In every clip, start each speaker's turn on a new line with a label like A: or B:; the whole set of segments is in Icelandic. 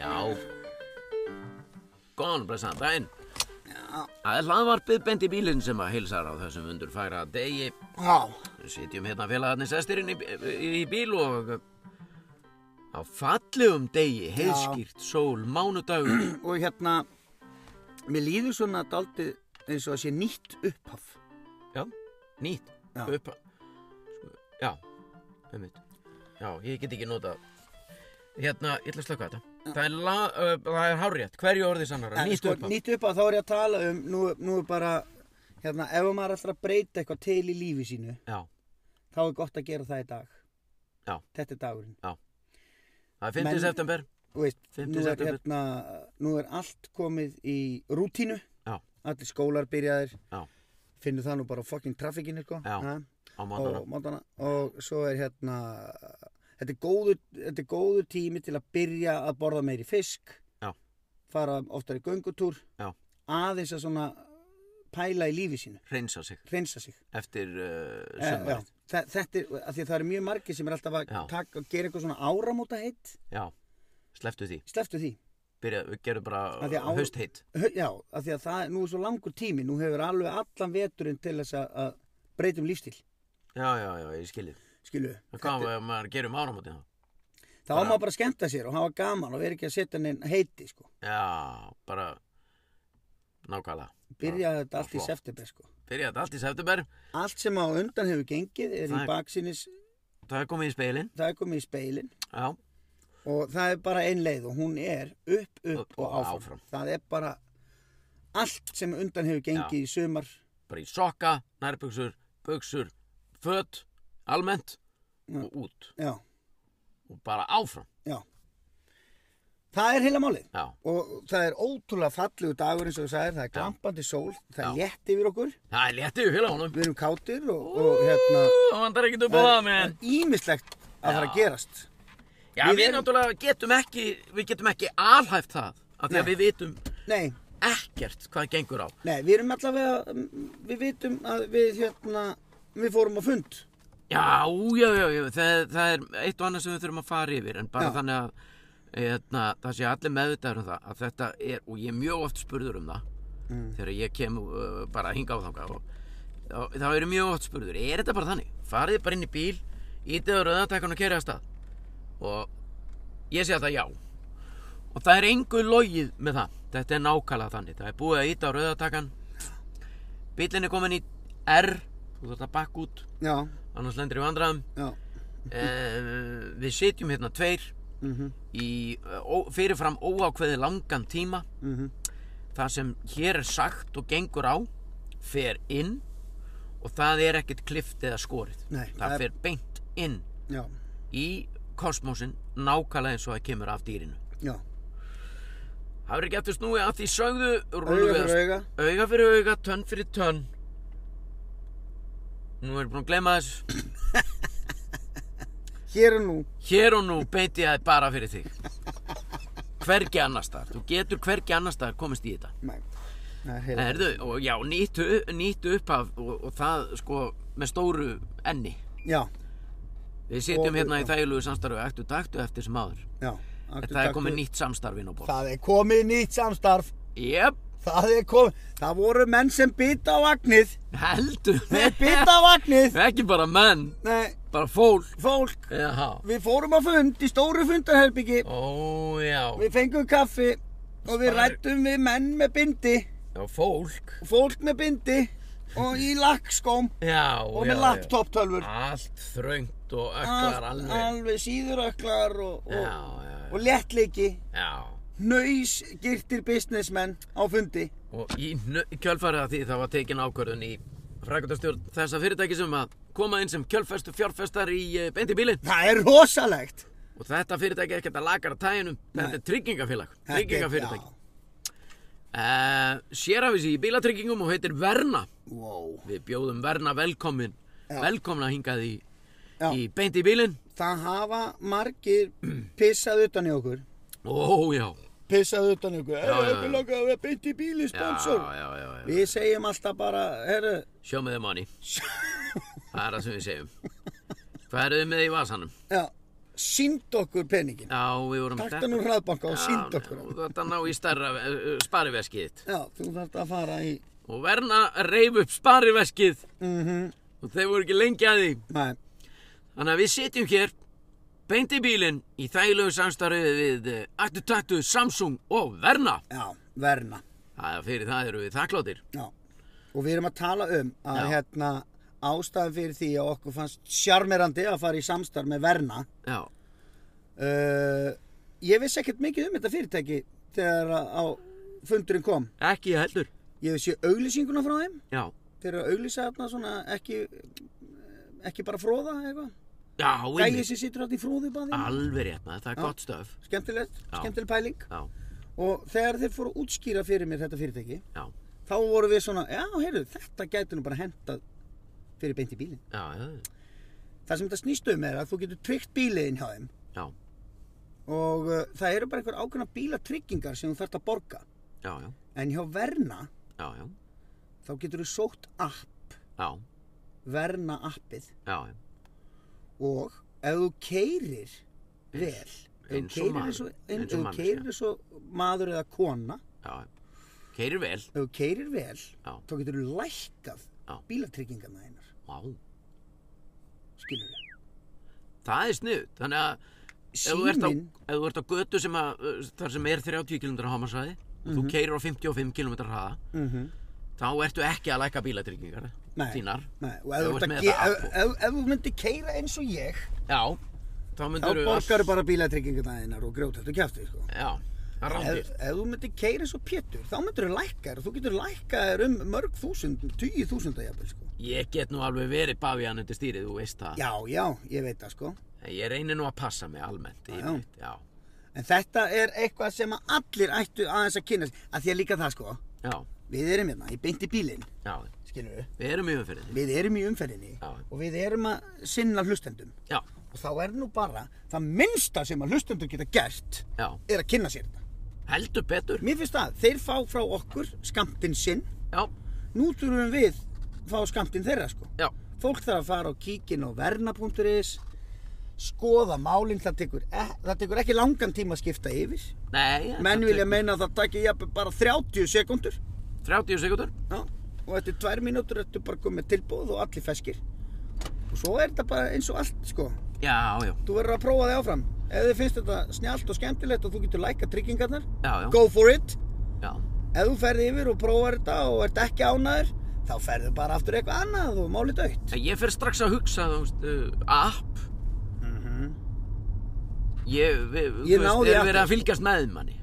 A: Já. Góðan, blessaðan daginn. Það er hlaðvarpið Bendi Bílinn sem að heilsar á þessum undurfæra degi.
B: Já,
A: Sitjum hérna félagarnir sestirinn í, í bíl og á fallegum degi, heiðskýrt, sól, mánudagur.
B: og hérna, mér líður svona daldið eins og að sé nýtt upphaf.
A: Já, nýtt.
B: Já.
A: Upp, sko, já, einmitt. Já, ég get ekki notað. Hérna, ég ætla að slöka þetta. Það er, la, uh, það er hárjætt, hverju orði sannara,
B: En
A: nýtt
B: sko,
A: upphaf.
B: Nýtt upphaf, þá er ég að tala um, nú, nú er bara, hérna, ef maður er alltaf að breyta eitthvað til í lífi sínu,
A: Já,
B: þá er gott að gera það í dag.
A: Já.
B: Þetta er dagurinn.
A: það er 5.
B: Menn-
A: september.
B: Þú veist,
A: 50
B: nú er,
A: september.
B: hérna, nú er allt komið í rútínu.
A: Já.
B: Allir skólar byrjaðir.
A: Já.
B: Finnur það nú bara á fucking trafikinu, sko.
A: Já.
B: Ha?
A: á
B: og
A: mátana
B: mátana og svo er hérna þetta er góður, þetta er góður tími til að byrja að borða meiri fisk
A: Já.
B: fara oftar í göngutúr
A: Já.
B: aðeins að svona pæla í lífi sínu,
A: reynsa sig
B: hreinsa sig
A: eftir uh,
B: Eh, já.
A: sömur
B: Þa- þetta er, af því að það eru mjög margir sem er alltaf að
A: Já.
B: taka, gera eitthvað svona áramóta heitt
A: já, sleftu því,
B: sleftu því,
A: Byrja, við gerum bara
B: Af því að á-
A: höst heitt
B: Hö- já, af því að það er nú er svo langur tími, nú hefur alveg allan veturinn til þess að, að um breytum lífstil
A: já, já, já, ég skilji
B: skilu,
A: hvað ef maður gerum áramóti þá
B: þá á maður bara að skemmta sér og hafa gaman og vera ekki að setja neinn heiti sko
A: já, bara nákvæmlega,
B: byrjaði þetta allt í
A: flott.
B: september sko.
A: byrja þetta allt í september
B: Allt sem á undan hefur gengið er
A: Það
B: í
A: er-
B: baksinis,
A: það er komið í speilin
B: það er komið í speilin
A: já,
B: og það er bara ein leið og hún er upp, upp og,
A: Og- og
B: áfram.
A: áfram.
B: Það er bara allt sem á undan hefur gengið í sumar.
A: bara í sokka, nærbuxur buxur, fött almennt
B: Mm.
A: og út
B: Já,
A: og bara áfram
B: já. Það er heila málið
A: já,
B: og það er ótrúlega fallegu dagur eins og þú sagðir, það er glampandi sól, það er
A: Já.
B: létt yfir okkur,
A: það er léttið við félagunum
B: við erum kátir og, og hérna,
A: það vantar ekki upp á það
B: það
A: menn
B: er ímislegt að það er að gerast.
A: já,
B: Við
A: við
B: erum-
A: náttúrulega getum ekki við getum ekki alhæft það af því að
B: Nei.
A: við vitum
B: Nei,
A: ekkert hvað gengur á
B: Nei, við erum allavega, mm, við vitum að við hérna, við fórum á fund.
A: Já, já, já, já það, það er eitt og annað sem við þurfum að fara yfir en bara
B: Já.
A: þannig að eitna, það sé allir meðvitaður um það að þetta er, og ég er mjög oft spurður um það þegar ég kem uh, bara hinga á þanga og þá, þá eru mjög oft spurður, er þetta bara þannig? Farið bara inn í bíl, ítið á rauðatakan og kerið að stað og ég sé að það já og það er engu logið með það þetta er nákvæmlega þannig, það er búið að íta á rauðatakan bílinn er komin í R þú þarft að bakka út
B: Já,
A: annars lendir í vandræðum
B: já,
A: uh, við sitjum hérna tveir
B: Mhm,
A: í uh, ó, fyrirfram óákveði langan tíma
B: mhm.
A: það sem hér er sagt og gengur á fer inn og það er ekkert klift eða skorið
B: Nei,
A: það,
B: það er-
A: fer beint inn
B: já,
A: í kosmosin nákvæmlega eins og það kemur af dýrinu
B: já.
A: það verður ekki eftir snúi að því sögðu rúllum
B: Auga
A: við að
B: fyrir auga.
A: auga fyrir auga, tönn fyrir tönn nú erum við búin að gleyma þessu
B: Hér og nú.
A: Hér og nú beiti ég það bara fyrir þig Hvergi annars þar Þú getur hvergi annars þar komist í þetta
B: Nei, það er heila.
A: Erðu, og já, nýttu, nýttu upphaf og, og það sko með stóru enni
B: Já,
A: Við sitjum
B: Og-
A: hérna í
B: já.
A: þægilegu samstarfi Ættu taktu eftir sem áður
B: já.
A: En
B: Aktu,
A: það er
B: taktu.
A: komið nýtt samstarfi inn á borð
B: Það er komið nýtt samstarf.
A: Jep,
B: Það er komið, það voru menn sem bita á vagnið.
A: heldur
B: Þeir bita á vagnið.
A: Ekki bara menn,
B: Nei,
A: bara fólk
B: fólk,
A: Já,
B: við fórum á fund í stóru fundarherbyggi.
A: ó já
B: Við fengum kaffi og við
A: Spar-
B: rættum við menn með bindi,
A: Já, fólk
B: fólk með bindi og í lakkskóm
A: Já,
B: og
A: já,
B: með
A: já
B: laptoptölfur.
A: Allt þröngt og öklar
B: alveg,
A: alveg
B: alveg síðuröklar og,
A: Já,
B: og,
A: já, já
B: og léttleiki
A: Já,
B: nöys girtir businessmenn á fundi
A: og í nö- kjölfarið af því það var tekin ákvörðun í frækundastjórn þessa fyrirtæki sem að koma inn sem kjölfestu fjárfestar í eh, beint í bílinn
B: það er rosalegt
A: og þetta fyrirtæki er ekkert að lagar að tæginum þetta er tryggingafélag, tryggingafyrirtæki
B: Þetta er-
A: uh, sér af þessi í bílatryggingum og heitir Verna
B: já. wow.
A: við bjóðum Verna velkomin
B: Já.
A: velkomna hingað í,
B: Já.
A: í beint í bílinn
B: það hafa margir pissað utan í okkur
A: ó já
B: pissað utan í okkur
A: já, já.
B: hefur lokað að vera beint í bíli
A: já,
B: sponsor
A: já, já, já.
B: við segjum alltaf bara herru
A: show me the money það er það sem við segjum hvað eru þið með í vasanum?
B: já sínd okkur peningin
A: Já, við vorum
B: takta nú hraðbanka og sínd okkur hann.
A: Þetta ná í starra eh, spariveskið þitt.
B: já, þú þarft að fara í
A: Og verna reyf upp spariveskið
B: mhm,
A: og þeir voru ekki lengi að því.
B: næ,
A: Þannig að við sitjum hér, beint í bílinn, í þægilegu samstarfi við eh, Attu Tattu, Samsung og Verna.
B: já, verna
A: Það er fyrir það eru við þakkláttir.
B: já, og við erum að tala um að
A: Já.
B: hérna ástæðan fyrir því að okkur fannst sjarmerandi að fara í samstarf með verna
A: Já,
B: uh, ég vissi ekkert mikið um þetta fyrirtæki þegar að á fundurinn kom
A: ekki ég heldur.
B: ég vissi auglýsinguna frá þeim
A: Já,
B: þeir eru að auglýsa þarna svona ekki ekki bara fróða eitthvað
A: já,
B: gæði
A: einmitt.
B: sem situr alltaf í fróðubadi
A: Alveg rétt maður, það er gott stöf.
B: skemmtilegt,
A: Já.
B: skemmtileg pæling
A: Já,
B: og þegar þeir fóru að útskýra fyrir mér þetta fyrirtæki
A: já,
B: þá voru við svona, já heyrðu, þetta gæti nú bara hentað fyrir beint í bílinn
A: já, já,
B: það sem þetta snýst um er að þú getur tryggt bíliðin hjá þeim
A: já,
B: og uh, það eru bara einhver ákveðna bílatryggingar sem þú þarft að borga
A: já, já,
B: en hjá Verna
A: já, já,
B: þá getur þú sótt app
A: já,
B: Verna appið
A: já, já.
B: og ef þú keirir vel ef þú
A: eins og
B: keirir
A: maður,
B: eins og,
A: eins
B: ein, ef
A: og
B: þú
A: manneskja.
B: keirir eins og maður eða kona
A: já. Keirir vel,
B: ef þú keirir vel
A: já,
B: þá getur þú lækkað
A: Já.
B: bílatryggingarna einar
A: já.
B: skilur við
A: Það er snuð, þannig að ef þú ert á,
B: símin,
A: ef þú ert á götu sem að, uh, þar sem er 30 km hámarsæði og
B: Mhm.
A: þú keirir á 55 km hraða,
B: mm
A: þá ertu ekki að læka bílatryggingar
B: Nei.
A: þínar.
B: nei, og ef
A: Ef
B: þú
A: þú ert
B: ert að
A: með
B: ge-
A: þetta
B: ef-
A: app og-
B: ef- ef þú myndir keira eins og ég
A: Já, þá
B: þá
A: myndur
B: borgar þú bara bílatryggingarna einar og grjótættu kjæftu sko.
A: Já, það er
B: ef,
A: rándir.
B: ef þú myndir keira eins og Pétur þá myndir þú lækkaðir og þú getur lækkaðir um mörg þúsund, tíu þúsunda jafnvel sko.
A: Ég get nú alveg verið bavíðan undir stýrið, þú veist það.
B: já, já, ég veit það sko
A: En Ég reynir nú að passa mig almennt,
B: Já, já.
A: yfirleitt, já.
B: En þetta er eitthvað sem að allir ættu aðeins að kynna sér. Að því að líka það sko,
A: Já,
B: við erum hérna, ég beinti bílinn,
A: já,
B: skilur við.
A: við erum yfir fyrir því.
B: Við erum í umferðinni
A: Já.
B: og við erum að sinna hlustendum.
A: Já,
B: Og þá er nú bara, það minnsta sem að hlustendur geta gert
A: já,
B: er að kynna sér þetta.
A: heldur betur.
B: Mér finnst það, þeir fá frá okkur skamtinn sinn,
A: Já,
B: nú þurfum við að fá skamtinn þeirra sko.
A: já,
B: Fólk þarf að fara á kíkin og verna.is, skoða málinn, það tekur, eh, það tekur ekki langan tíma að skipta yfir.
A: nei. þetta
B: Menn vilja
A: tekur
B: meina að það taki jafnvel bara 30 sekundur
A: 30 sekundur.
B: Já, og eftir tvær mínútur ertu bara komið tilbúð og allir feskir og svo er þetta bara eins og allt sko
A: Já, já,
B: þú verður að prófa þig áfram ef þið finnst þetta snjált og skemmtilegt og þú getur læka tryggingarnar
A: já, já,
B: go for it
A: já,
B: ef þú ferði yfir og prófar þetta og ert ekki ánæður þá ferðu bara aftur í eitthvað annað og málið dögt
A: En Ég fer strax að hugsa, þú veist, uh, app. Mhm. Ég, við,
B: Ég
A: þú
B: náði
A: veist, er
B: appið.
A: verið að fylgjast með manni.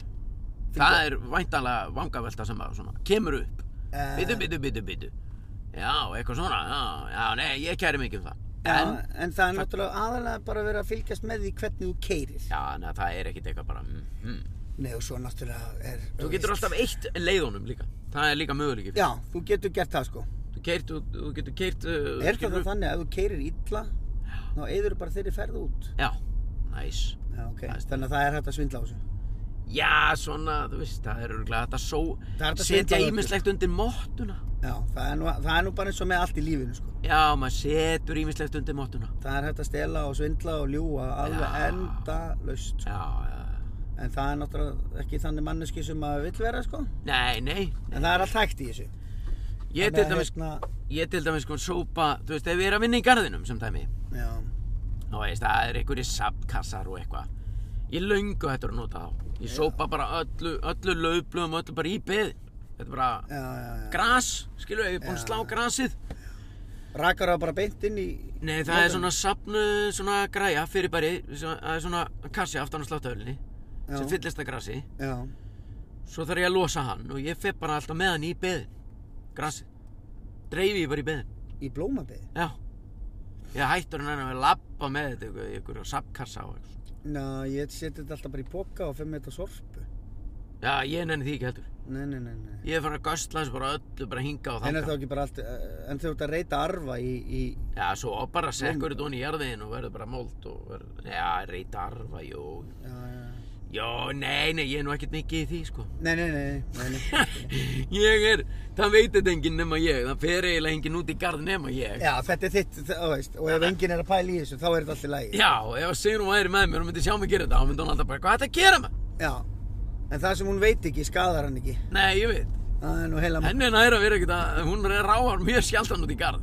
A: Það er væntanlega vangavelta sem að svona, kemur upp.
B: Eh.
A: Bitu, bitu, bitu, bitu. Já, eitthvað svona, já, já, nei, ég kæri mikið um það.
B: en,
A: En,
B: en það er náttúrulega aðalega bara að vera að fylgjast með því hvernig þú keirir
A: já, neða, það er ekkit eitthvað bara, mm, mm.
B: Nei og svo náttúrulega er
A: Þú getur alltaf eitt leiðunum líka. Það er líka möguleiki. fyrir.
B: Já, þú getur gert það sko
A: Þú, keirt, þú, þú getur keirt... Uh,
B: Er það
A: skilur-
B: þá þannig að ef þú keirir illa þá eður bara þeirri ferð út
A: Já, næs.
B: Já, ok,
A: Það er sniðugt.
B: þannig að það er hægt að svindla á þessu
A: Já, svona, þú veist, það er örgulega þetta só...
B: Það er hægt að
A: setja
B: svindla á
A: ímislegt undir móttuna.
B: Já, það er, nú, það er nú bara eins og með allt í lífinu sko.
A: Já, maður setur ímislegt undir móttuna.
B: Það er hægt að stela og svindla og ljúa alveg
A: Já.
B: endalaust sko.
A: Já, já, já.
B: En það er náttúrulega ekki þannig manneski sem maður vill vera sko.
A: Nei, nei.
B: En það er allt hægt í þessu
A: Ég
B: Þannig
A: til
B: að,
A: dæmis,
B: hérna,
A: ég til dæmis sko sópa, þú veist, ef ég er að vinna í garðinum sem dæmi,
B: Já,
A: þá veist, það er einhverjir sabkassar og eitthvað. Ég löngu hættur að nota þá. Ég sópa bara öllu, öllu laufblöðum, öllu bara í beðin. Þetta er bara
B: já, já, já.
A: gras, skilur, ég er búinn að slá grasið.
B: Rakar það bara beint inn í
A: Nei, það er svona sapnu, svona græja, fyrirbæri, svona- það er svona kassi aftan á sláttöflinni,
B: Já.
A: sem fyllist að grasi.
B: Já,
A: Svo þarf ég að losa hann og ég fef bara alltaf með hann í beðin. Grasið. Dreifi ég bara í beðin.
B: í blómabeði
A: Já. Ég hættur hann að lappa með þetta ykkur, ykkur á sapkassa og eitthvað. svona.
B: Ná, ég seti þetta alltaf bara í poka og fyrir með þetta sorpu
A: Já, ég nenni því ekki heldur.
B: Nei, nei, nei, nei
A: Ég er farin að göstla þessu bara öllu, bara hinga og
B: En er
A: þanga.
B: það ekki bara allt, eh, en þú ert að reyta arfa í, í
A: Já, svo bara sekkur þetta onni í jarðin og verður bara mold og verður, já, reyta arfa, jú.
B: já, já, já.
A: Já, nei, nei, ég er nú ekkert mikið í því, sko.
B: Nei, nei, nei, nei, nei.
A: Ég er, það veit þetta enginn nema ég, það fer eiginlega enginn út í garð nema ég. sko.
B: Já, þetta er þitt, þú veist, og ef enginn er að pæla í þessu, þá er þetta alltaf lægi.
A: Já, ef Sigrun væri með mér og myndi sjá mig gera þetta, þá myndi hún alltaf bara, hvað er þetta að gera maður?
B: Já. En það sem hún veit ekki, skadar hann ekki.
A: Nei, ég veit.
B: Það er nú heila...
A: Henni er næra að vera ekkert að, hún er ráðar mjög sjaldan út í garð.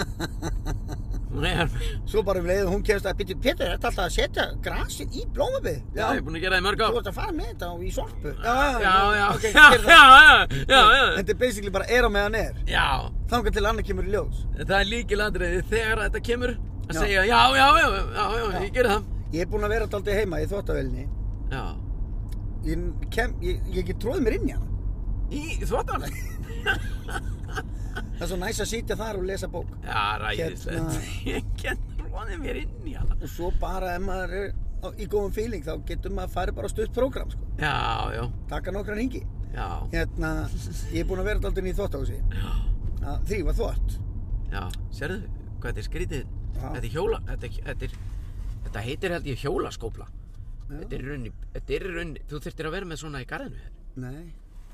A: Hún er,
B: Svo bara um leiðu, hún kemst að byrja, Pétur, þetta er alltaf að setja grasin í blómabið.
A: já, ég er búin að gera það í mörg á.
B: Þú ert að fara með þetta og í sorpu. Já,
A: Já, já,
B: ok,
A: já,
B: gerðu
A: já,
B: það.
A: já, já, já,
B: Þetta er basically bara er á meðan er.
A: já.
B: Þangar til annað kemur í ljós.
A: Það er líkilandriði þegar þetta kemur að
B: Já.
A: segja já, já, já, já, já, ég gerði það.
B: Ég er búinn að vera daldið heima í þvóttavélni.
A: Já.
B: Ég, kem, ég, ég get tróðið mér inn í hana.
A: Í þvóttan?
B: Það er svo næs að sitja þar og lesa bók.
A: Já, ræðislegt. Ég get róðið mér inn í hana.
B: Og svo bara ef maður er á, í góðum feeling þá getur maður að fara bara á stutt prógram, sko.
A: Já, já,
B: Taka nokkran hingi.
A: já,
B: Hérna, ég er búinn að vera daldið í þvóttahúsi. Að þrýfa þvótt.
A: já. Sérðu hvað þetta er skrítið?
B: Já.
A: Þetta er hjóla, þetta, er- þetta er, þetta heitir held ég hjólaskópla. Þetta er í rauninni, þetta er í rauninni, þú þurftir að vera með svona í garðinu þér.
B: Nei,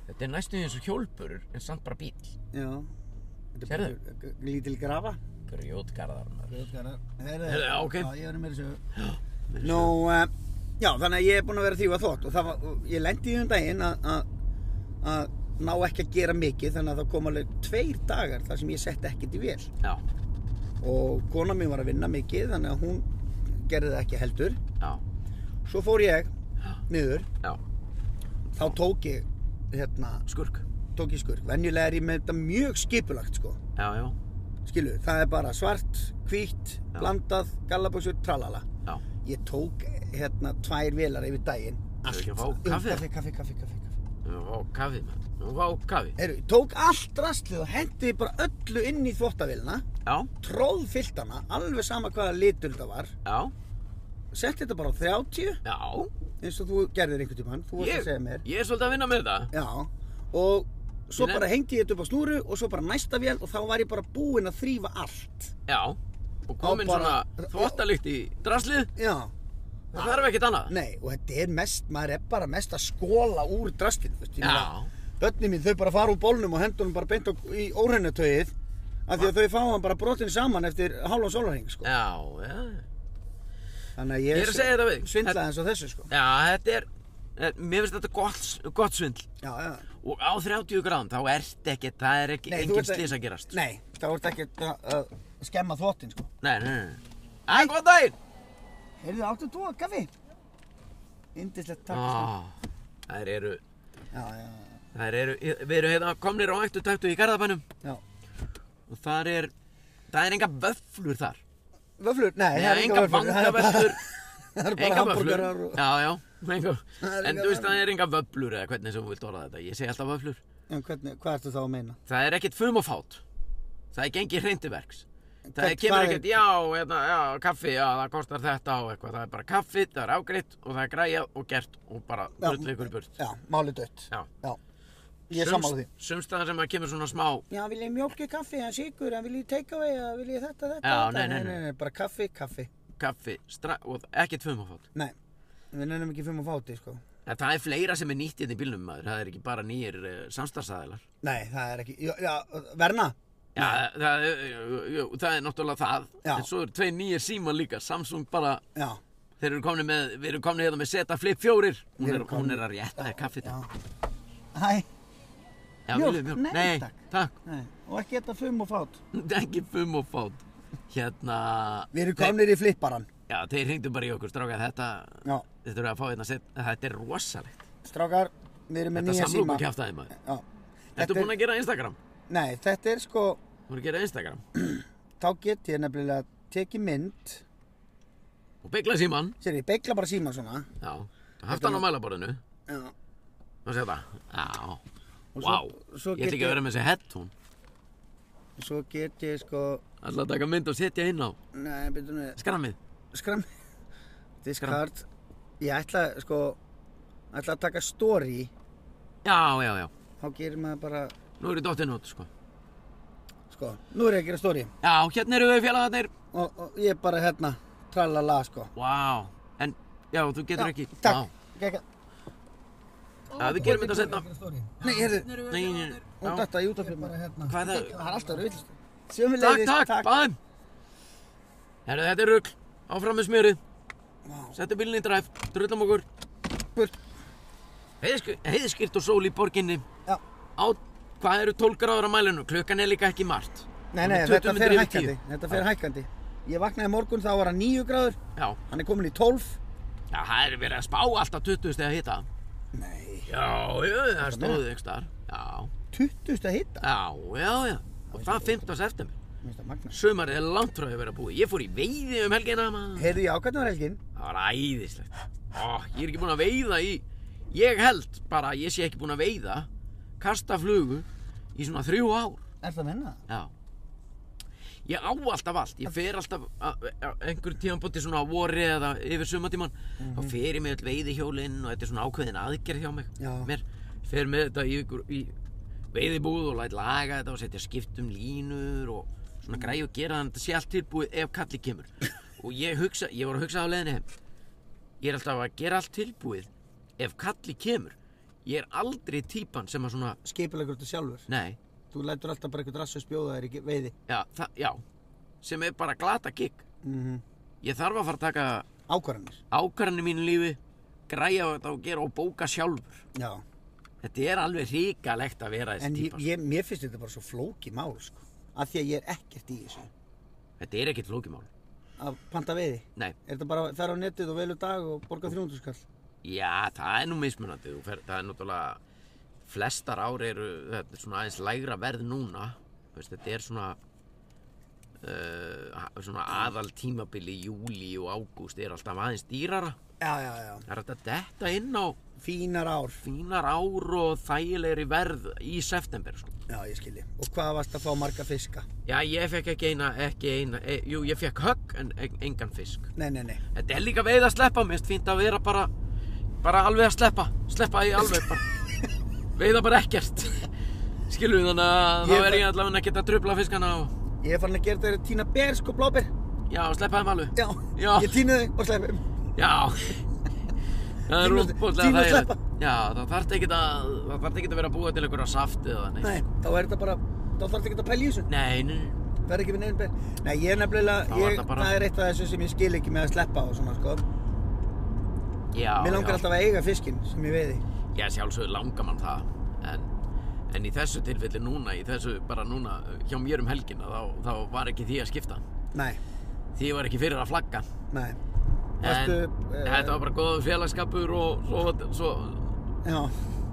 A: Þetta er næstu eins og hjólburur, en samt bara bíl.
B: já. Þetta er
A: Sérðu?
B: bara g- lítil grafa.
A: Grjótgarðar maður.
B: Herðu,
A: Heyrðu, já, ok.
B: Já, ég verður með þessu.
A: Já.
B: Nú, uh, já, þannig að ég er búinn að vera að þýfa þótt og það var, og ég lendi í um daginn að- að að ná ekki að gera mikið þannig að það kom alveg tveir dagar þar sem ég sett ekkert í vel
A: Já,
B: og kona mín var að vinna mikið þannig að hún gerði það ekki heldur
A: já,
B: svo fór ég
A: já,
B: niður
A: já.
B: þá tók ég hérna,
A: Skurk.
B: tók ég skurk venjulega er ég með þetta mjög skipulagt sko
A: Já, já,
B: skilu, það er bara svart, hvítt,
A: Já.
B: blandað gallabuxur, tralala
A: já.
B: ég tók hérna tvær velar yfir daginn
A: Hefur ekki að fá
B: Jú,
A: kaffi?
B: kaffi, kaffi, kaffi, kaffi, kaffi.
A: Hún var á kafi, mann. Hún var á kafi.
B: Heru, tók allt rastlið og hendi bara öllu inn í þvóttavélina
A: Já,
B: tróðfyllt hana, alveg sama hvaða litur þetta var
A: já,
B: setti þetta bara á 30
A: já.
B: eins og þú gerðir einhvern tímann, þú varst
A: Ég,
B: að segja mér
A: ég er svolítið að vinna með þetta.
B: já, og svo
A: Nei, nei.
B: bara hengdi ég þetta upp á snúru og svo bara næsta vél og þá var ég bara búinn að þrýfa allt
A: Já. Og komin
B: Á bara-
A: svona þvottalikt í draslið.
B: já,
A: Það þarf ekkert annað.
B: nei, og þetta er mest maður er bara mest að skóla úr drastlinu þú veist, ég meina,
A: Já.
B: börnin mín þau bara fara úr bólnum og hendur hún bara beint á, í óhrennutögið af því að þau fá hann bara brotin saman eftir hálfa sólarhing sko.
A: Já, já.
B: þannig að
A: Eh, Ég er að segja þetta við.
B: svindlaði eins og þessu sko
A: Já, þetta er, er- mér finnst þetta gott, gott svindl.
B: já, já.
A: Og á 30 gráðum, þá ert ekki, það er ekki,
B: Nei, þú
A: engin
B: ert að-
A: slís að gerast.
B: nei, það voru ekki að að skemma þvottin sko
A: Nei, nei, nei. Æ, góðan daginn!
B: er þið áttu tóa kaffi? indislegt takk sko.
A: Á, þær eru,
B: já, já, já,
A: þær eru, við erum hérna komnir á ættu tættu í Garðabænum
B: já.
A: og þar er, það er enga vöflur þar.
B: vöflur? nei,
A: Nei,
B: það er
A: enga
B: enga vöflur það er bara-
A: vangavöflur.
B: það eru bara
A: Enga vöflur.
B: hambúrgarar og...
A: Já, já. Enga.
B: Það er
A: En
B: enga
A: þú veist,
B: vöflur.
A: það er enga vöflur eða hvernig sem þú vilt orða þetta. Ég segi alltaf vöflur.
B: en hvernig, hvað ertu þá að meina?
A: Það er ekkert fumafát. Það er gengið hreintiverks. Það
B: Hvern-
A: er, kemur
B: hvað er-
A: ekkert, já, hérna, já, kaffi, já, það kostar þetta og eitthvað. Það er bara kaffi, það er ágreitt og það er græjað og gert og bara
B: Já.
A: drullu ykkur í burt.
B: já, máli dött
A: Já.
B: já, ég er sammála því
A: Sumstaðar sem að kemur svona smá,
B: Já, vil ég mjólki kaffi, en sigur, en vil ég take away, en vil ég þetta, þetta,
A: Já, nei,
B: þetta?
A: nei, nei.
B: bara kaffi, kaffi.
A: kaffi, stra... og ekkert fumafát.
B: Nei, við nefnum ekki fimm og fáti, sko.
A: En Það er fleira sem er nýtt hérna í bílnum, maður. Það er ekki bara nýjir uh, samstarfsæðilar.
B: Nei, það er ekki, já, já verna,
A: Já, eh, það, jú, jú, það er náttúrulega það
B: Já.
A: En svo eru tvei nýjir síma líka Samsung bara,
B: já,
A: þeir eru komni með Við erum komni hérna með Zeta Flip 4 Hún
B: Við
A: er,
B: erum
A: hún
B: komnir-
A: er að rétta þér kaffi
B: já. Hæ,
A: Já,
B: Mjólk?
A: viljum mjólk.
B: Nei,
A: Nei,
B: takk.
A: takk
B: nei, og ekki þetta fimm og fát.
A: Ekki fum og fát Hérna
B: Við erum komnir í flipparan.
A: Nei, Já, þeir hringdu bara í okkur, stráka þetta
B: Já,
A: Þetta eru að fá hérna set Þetta er rosalegt
B: strákar, við erum með
A: Þetta
B: nýja
A: samlum
B: síma.
A: ekki haft aðeim maður
B: Já.
A: Ertu
B: er-
A: búin að gera Instagram?
B: Nei, þetta er sko,
A: Þú er að gera Instagram
B: þá get ég nefnilega tekið mynd,
A: Og byggla síman
B: sér ég beigla bara síma svona.
A: Já, haft hann á mælaborðinu
B: Já.
A: Nú sé þetta Já,
B: Og
A: vá
B: svo- svo
A: Ég ætla
B: get
A: ekki
B: ég-
A: að vera með þessi headphone
B: Svo get ég sko,
A: Alltaf taka mynd og setja inn á
B: nei, byrjum við,
A: skrammið.
B: skram diskard ég ætla sko ætla að taka story
A: Já, já, já.
B: þá gerir maður bara
A: Nú er ég dottinn út, sko.
B: sko nú er ég að gera story
A: Já, hérna eru við félagarnir.
B: og, og ég er bara hérna tralala sko
A: Vá. En, já, þú getur
B: Já,
A: ekki.
B: takk
A: Vá.
B: gegga.
A: Já, við gerum þetta seinna.
B: Nei, heyrðu.
A: Nei, nei, nei.
B: Hún
A: Já,
B: datta í út af fyrir mér.
C: hérna.
A: Hvað er
B: Það
A: það?
B: er alltaf rauðlist.
A: Takk, takk, bæðum. Herru, þetta er rugl. Áfram með smjörið. Settu bílinn í dræf. Drullum okkur.
B: Burt.
A: Heiðskir- Heiðskýrt og sól í borginni.
B: Já.
A: Á, hvað eru 12 gráður á mælinu? Klukkan er líka ekki margt.
B: Nei,
A: Hún
B: nei,
A: er 20
B: þetta fer
A: mínútur yfir
B: hækkandi.
A: 10.
B: Þetta fer hækkandi. Ég vaknaði í morgun, þá var hann 9 gráður.
A: Já,
B: Hann er komin í 12.
A: já það er verið að spá alltaf 20 steg að hita.
B: Nei.
A: Já, já, það stóðu ykkur starf. Já,
B: 20 stað hitta.
A: já, já, já. Og það 15. september.
B: Mér finnst það magna.
A: Sumarið er langt frá því að vera búið. Ég fór í veiði um helgina, maður.
B: Heyrðu, já, hvernig var helgin?
A: Það var æðislegt. Ó, ég er ekki búinn að veiða í... Ég held bara að ég sé ekki búinn að veiða, kasta flugu í svona þrjú ár.
B: Er það að menna það?
A: Já. Ég á alltaf allt. Ég fer alltaf á einhverjum tímanbóti svona á vori eða yfir sumatíman. Þá fer ég með all veiðihjólinn og þetta er svona ákveðin aðgerð hjá mig.
B: Já.
A: Mér fer með þetta í, ykkur, í veiðibúð og læt laga þetta og setja skiptum línur og svona græði og gera þannig að þetta sé allt tilbúið ef kallið kemur. og ég, hugsa, ég var að hugsa á leiðinni heim. Ég er alltaf að gera allt tilbúið ef kallið kemur. Ég er aldrei típan sem að svona,
B: Skipilegur þetta sjálfur.
A: nei,
B: Þú lætur alltaf bara eitthvað rassus bjóða þær í ge- veiði.
A: Já, það, já, sem er bara glata gig.
B: Mm
A: Ég þarf að fara að taka
B: Ákvarðanir.
A: ákvarðanir í mínu lífi, græja á þetta og gera og bóka sjálfur.
B: Já.
A: Þetta er alveg hrikalegt að vera
B: En
A: þessi
B: ég,
A: típa.
B: ég, mér finnst þetta bara svo flóki mál, sko. Af því að ég er ekkert í þessu.
A: Þetta er ekkert flókimál.
B: Að panta veiði.
A: Nei,
B: Er þetta bara að fara á netið og velu dag og borga 300 skall?
A: já, það er nú mismunandi. Þú Fer, það er náttúrulega, flestar ár eru, þetta er svona aðeins lægra verð núna. Þú Veist, þetta er svona, uh, svona aðal tímabili í júli og ágúst er alltaf aðeins dýrara.
B: Já, já, já.
A: Það er þetta detta inn á
B: Fínar ár.
A: fínar ár og þægilegri verð í september sko.
B: Já, ég skilji. Og hvað varst að fá marga fiska?
A: Já, ég fekk ekki eina, ekki eina, e, jú, ég fekk högg en e, engan fisk.
B: Nei, nei, nei.
A: Þetta er líka veið að sleppa, mér finnst fínt að vera bara, bara alveg að sleppa, sleppa í alveg bara, veiða bara ekkert. Skilum þannig að
B: Ég
A: þá er
B: bara-
A: ég allavega ekkert að trubla fiskana og,
B: Ég er farin að gera þetta tína ber, sko, blóber.
A: já, sleppa þeim alveg.
B: Já.
A: Já.
B: Ég tína þau og sleppi um.
A: Já. Það er
B: Tíma-
A: rúmbúðlega
B: tíma að
A: þægilegt.
B: sleppa.
A: Já, það þarf ekki að, það þarf ekki að vera að búa til einhverja saft eða neitt.
B: Nei, þá er þetta bara, þá þarf ekki að pæla í þessu.
A: Nei, nei, nei.
B: Verð ekki við nefnum ber. Nei, ég er nefnilega,
A: Þá var
B: ég,
A: þetta
B: það,
A: bara-
B: er eitt af þessu sem ég skil ekki með að sleppa á svona, sko.
A: Já,
B: Mér langar
A: já.
B: alltaf að eiga fiskinn sem ég veiði.
A: Já, sjálfsögur langar mann það en, en í þessu tilfelli núna í þessu bara núna hjá mér um helgina þá, þá var ekki því að skipta
B: Nei,
A: því var ekki fyrir að flagga
B: nei.
A: en
B: Varstu, eh,
A: þetta var bara góður félagskapur og svo, svo,
B: Já.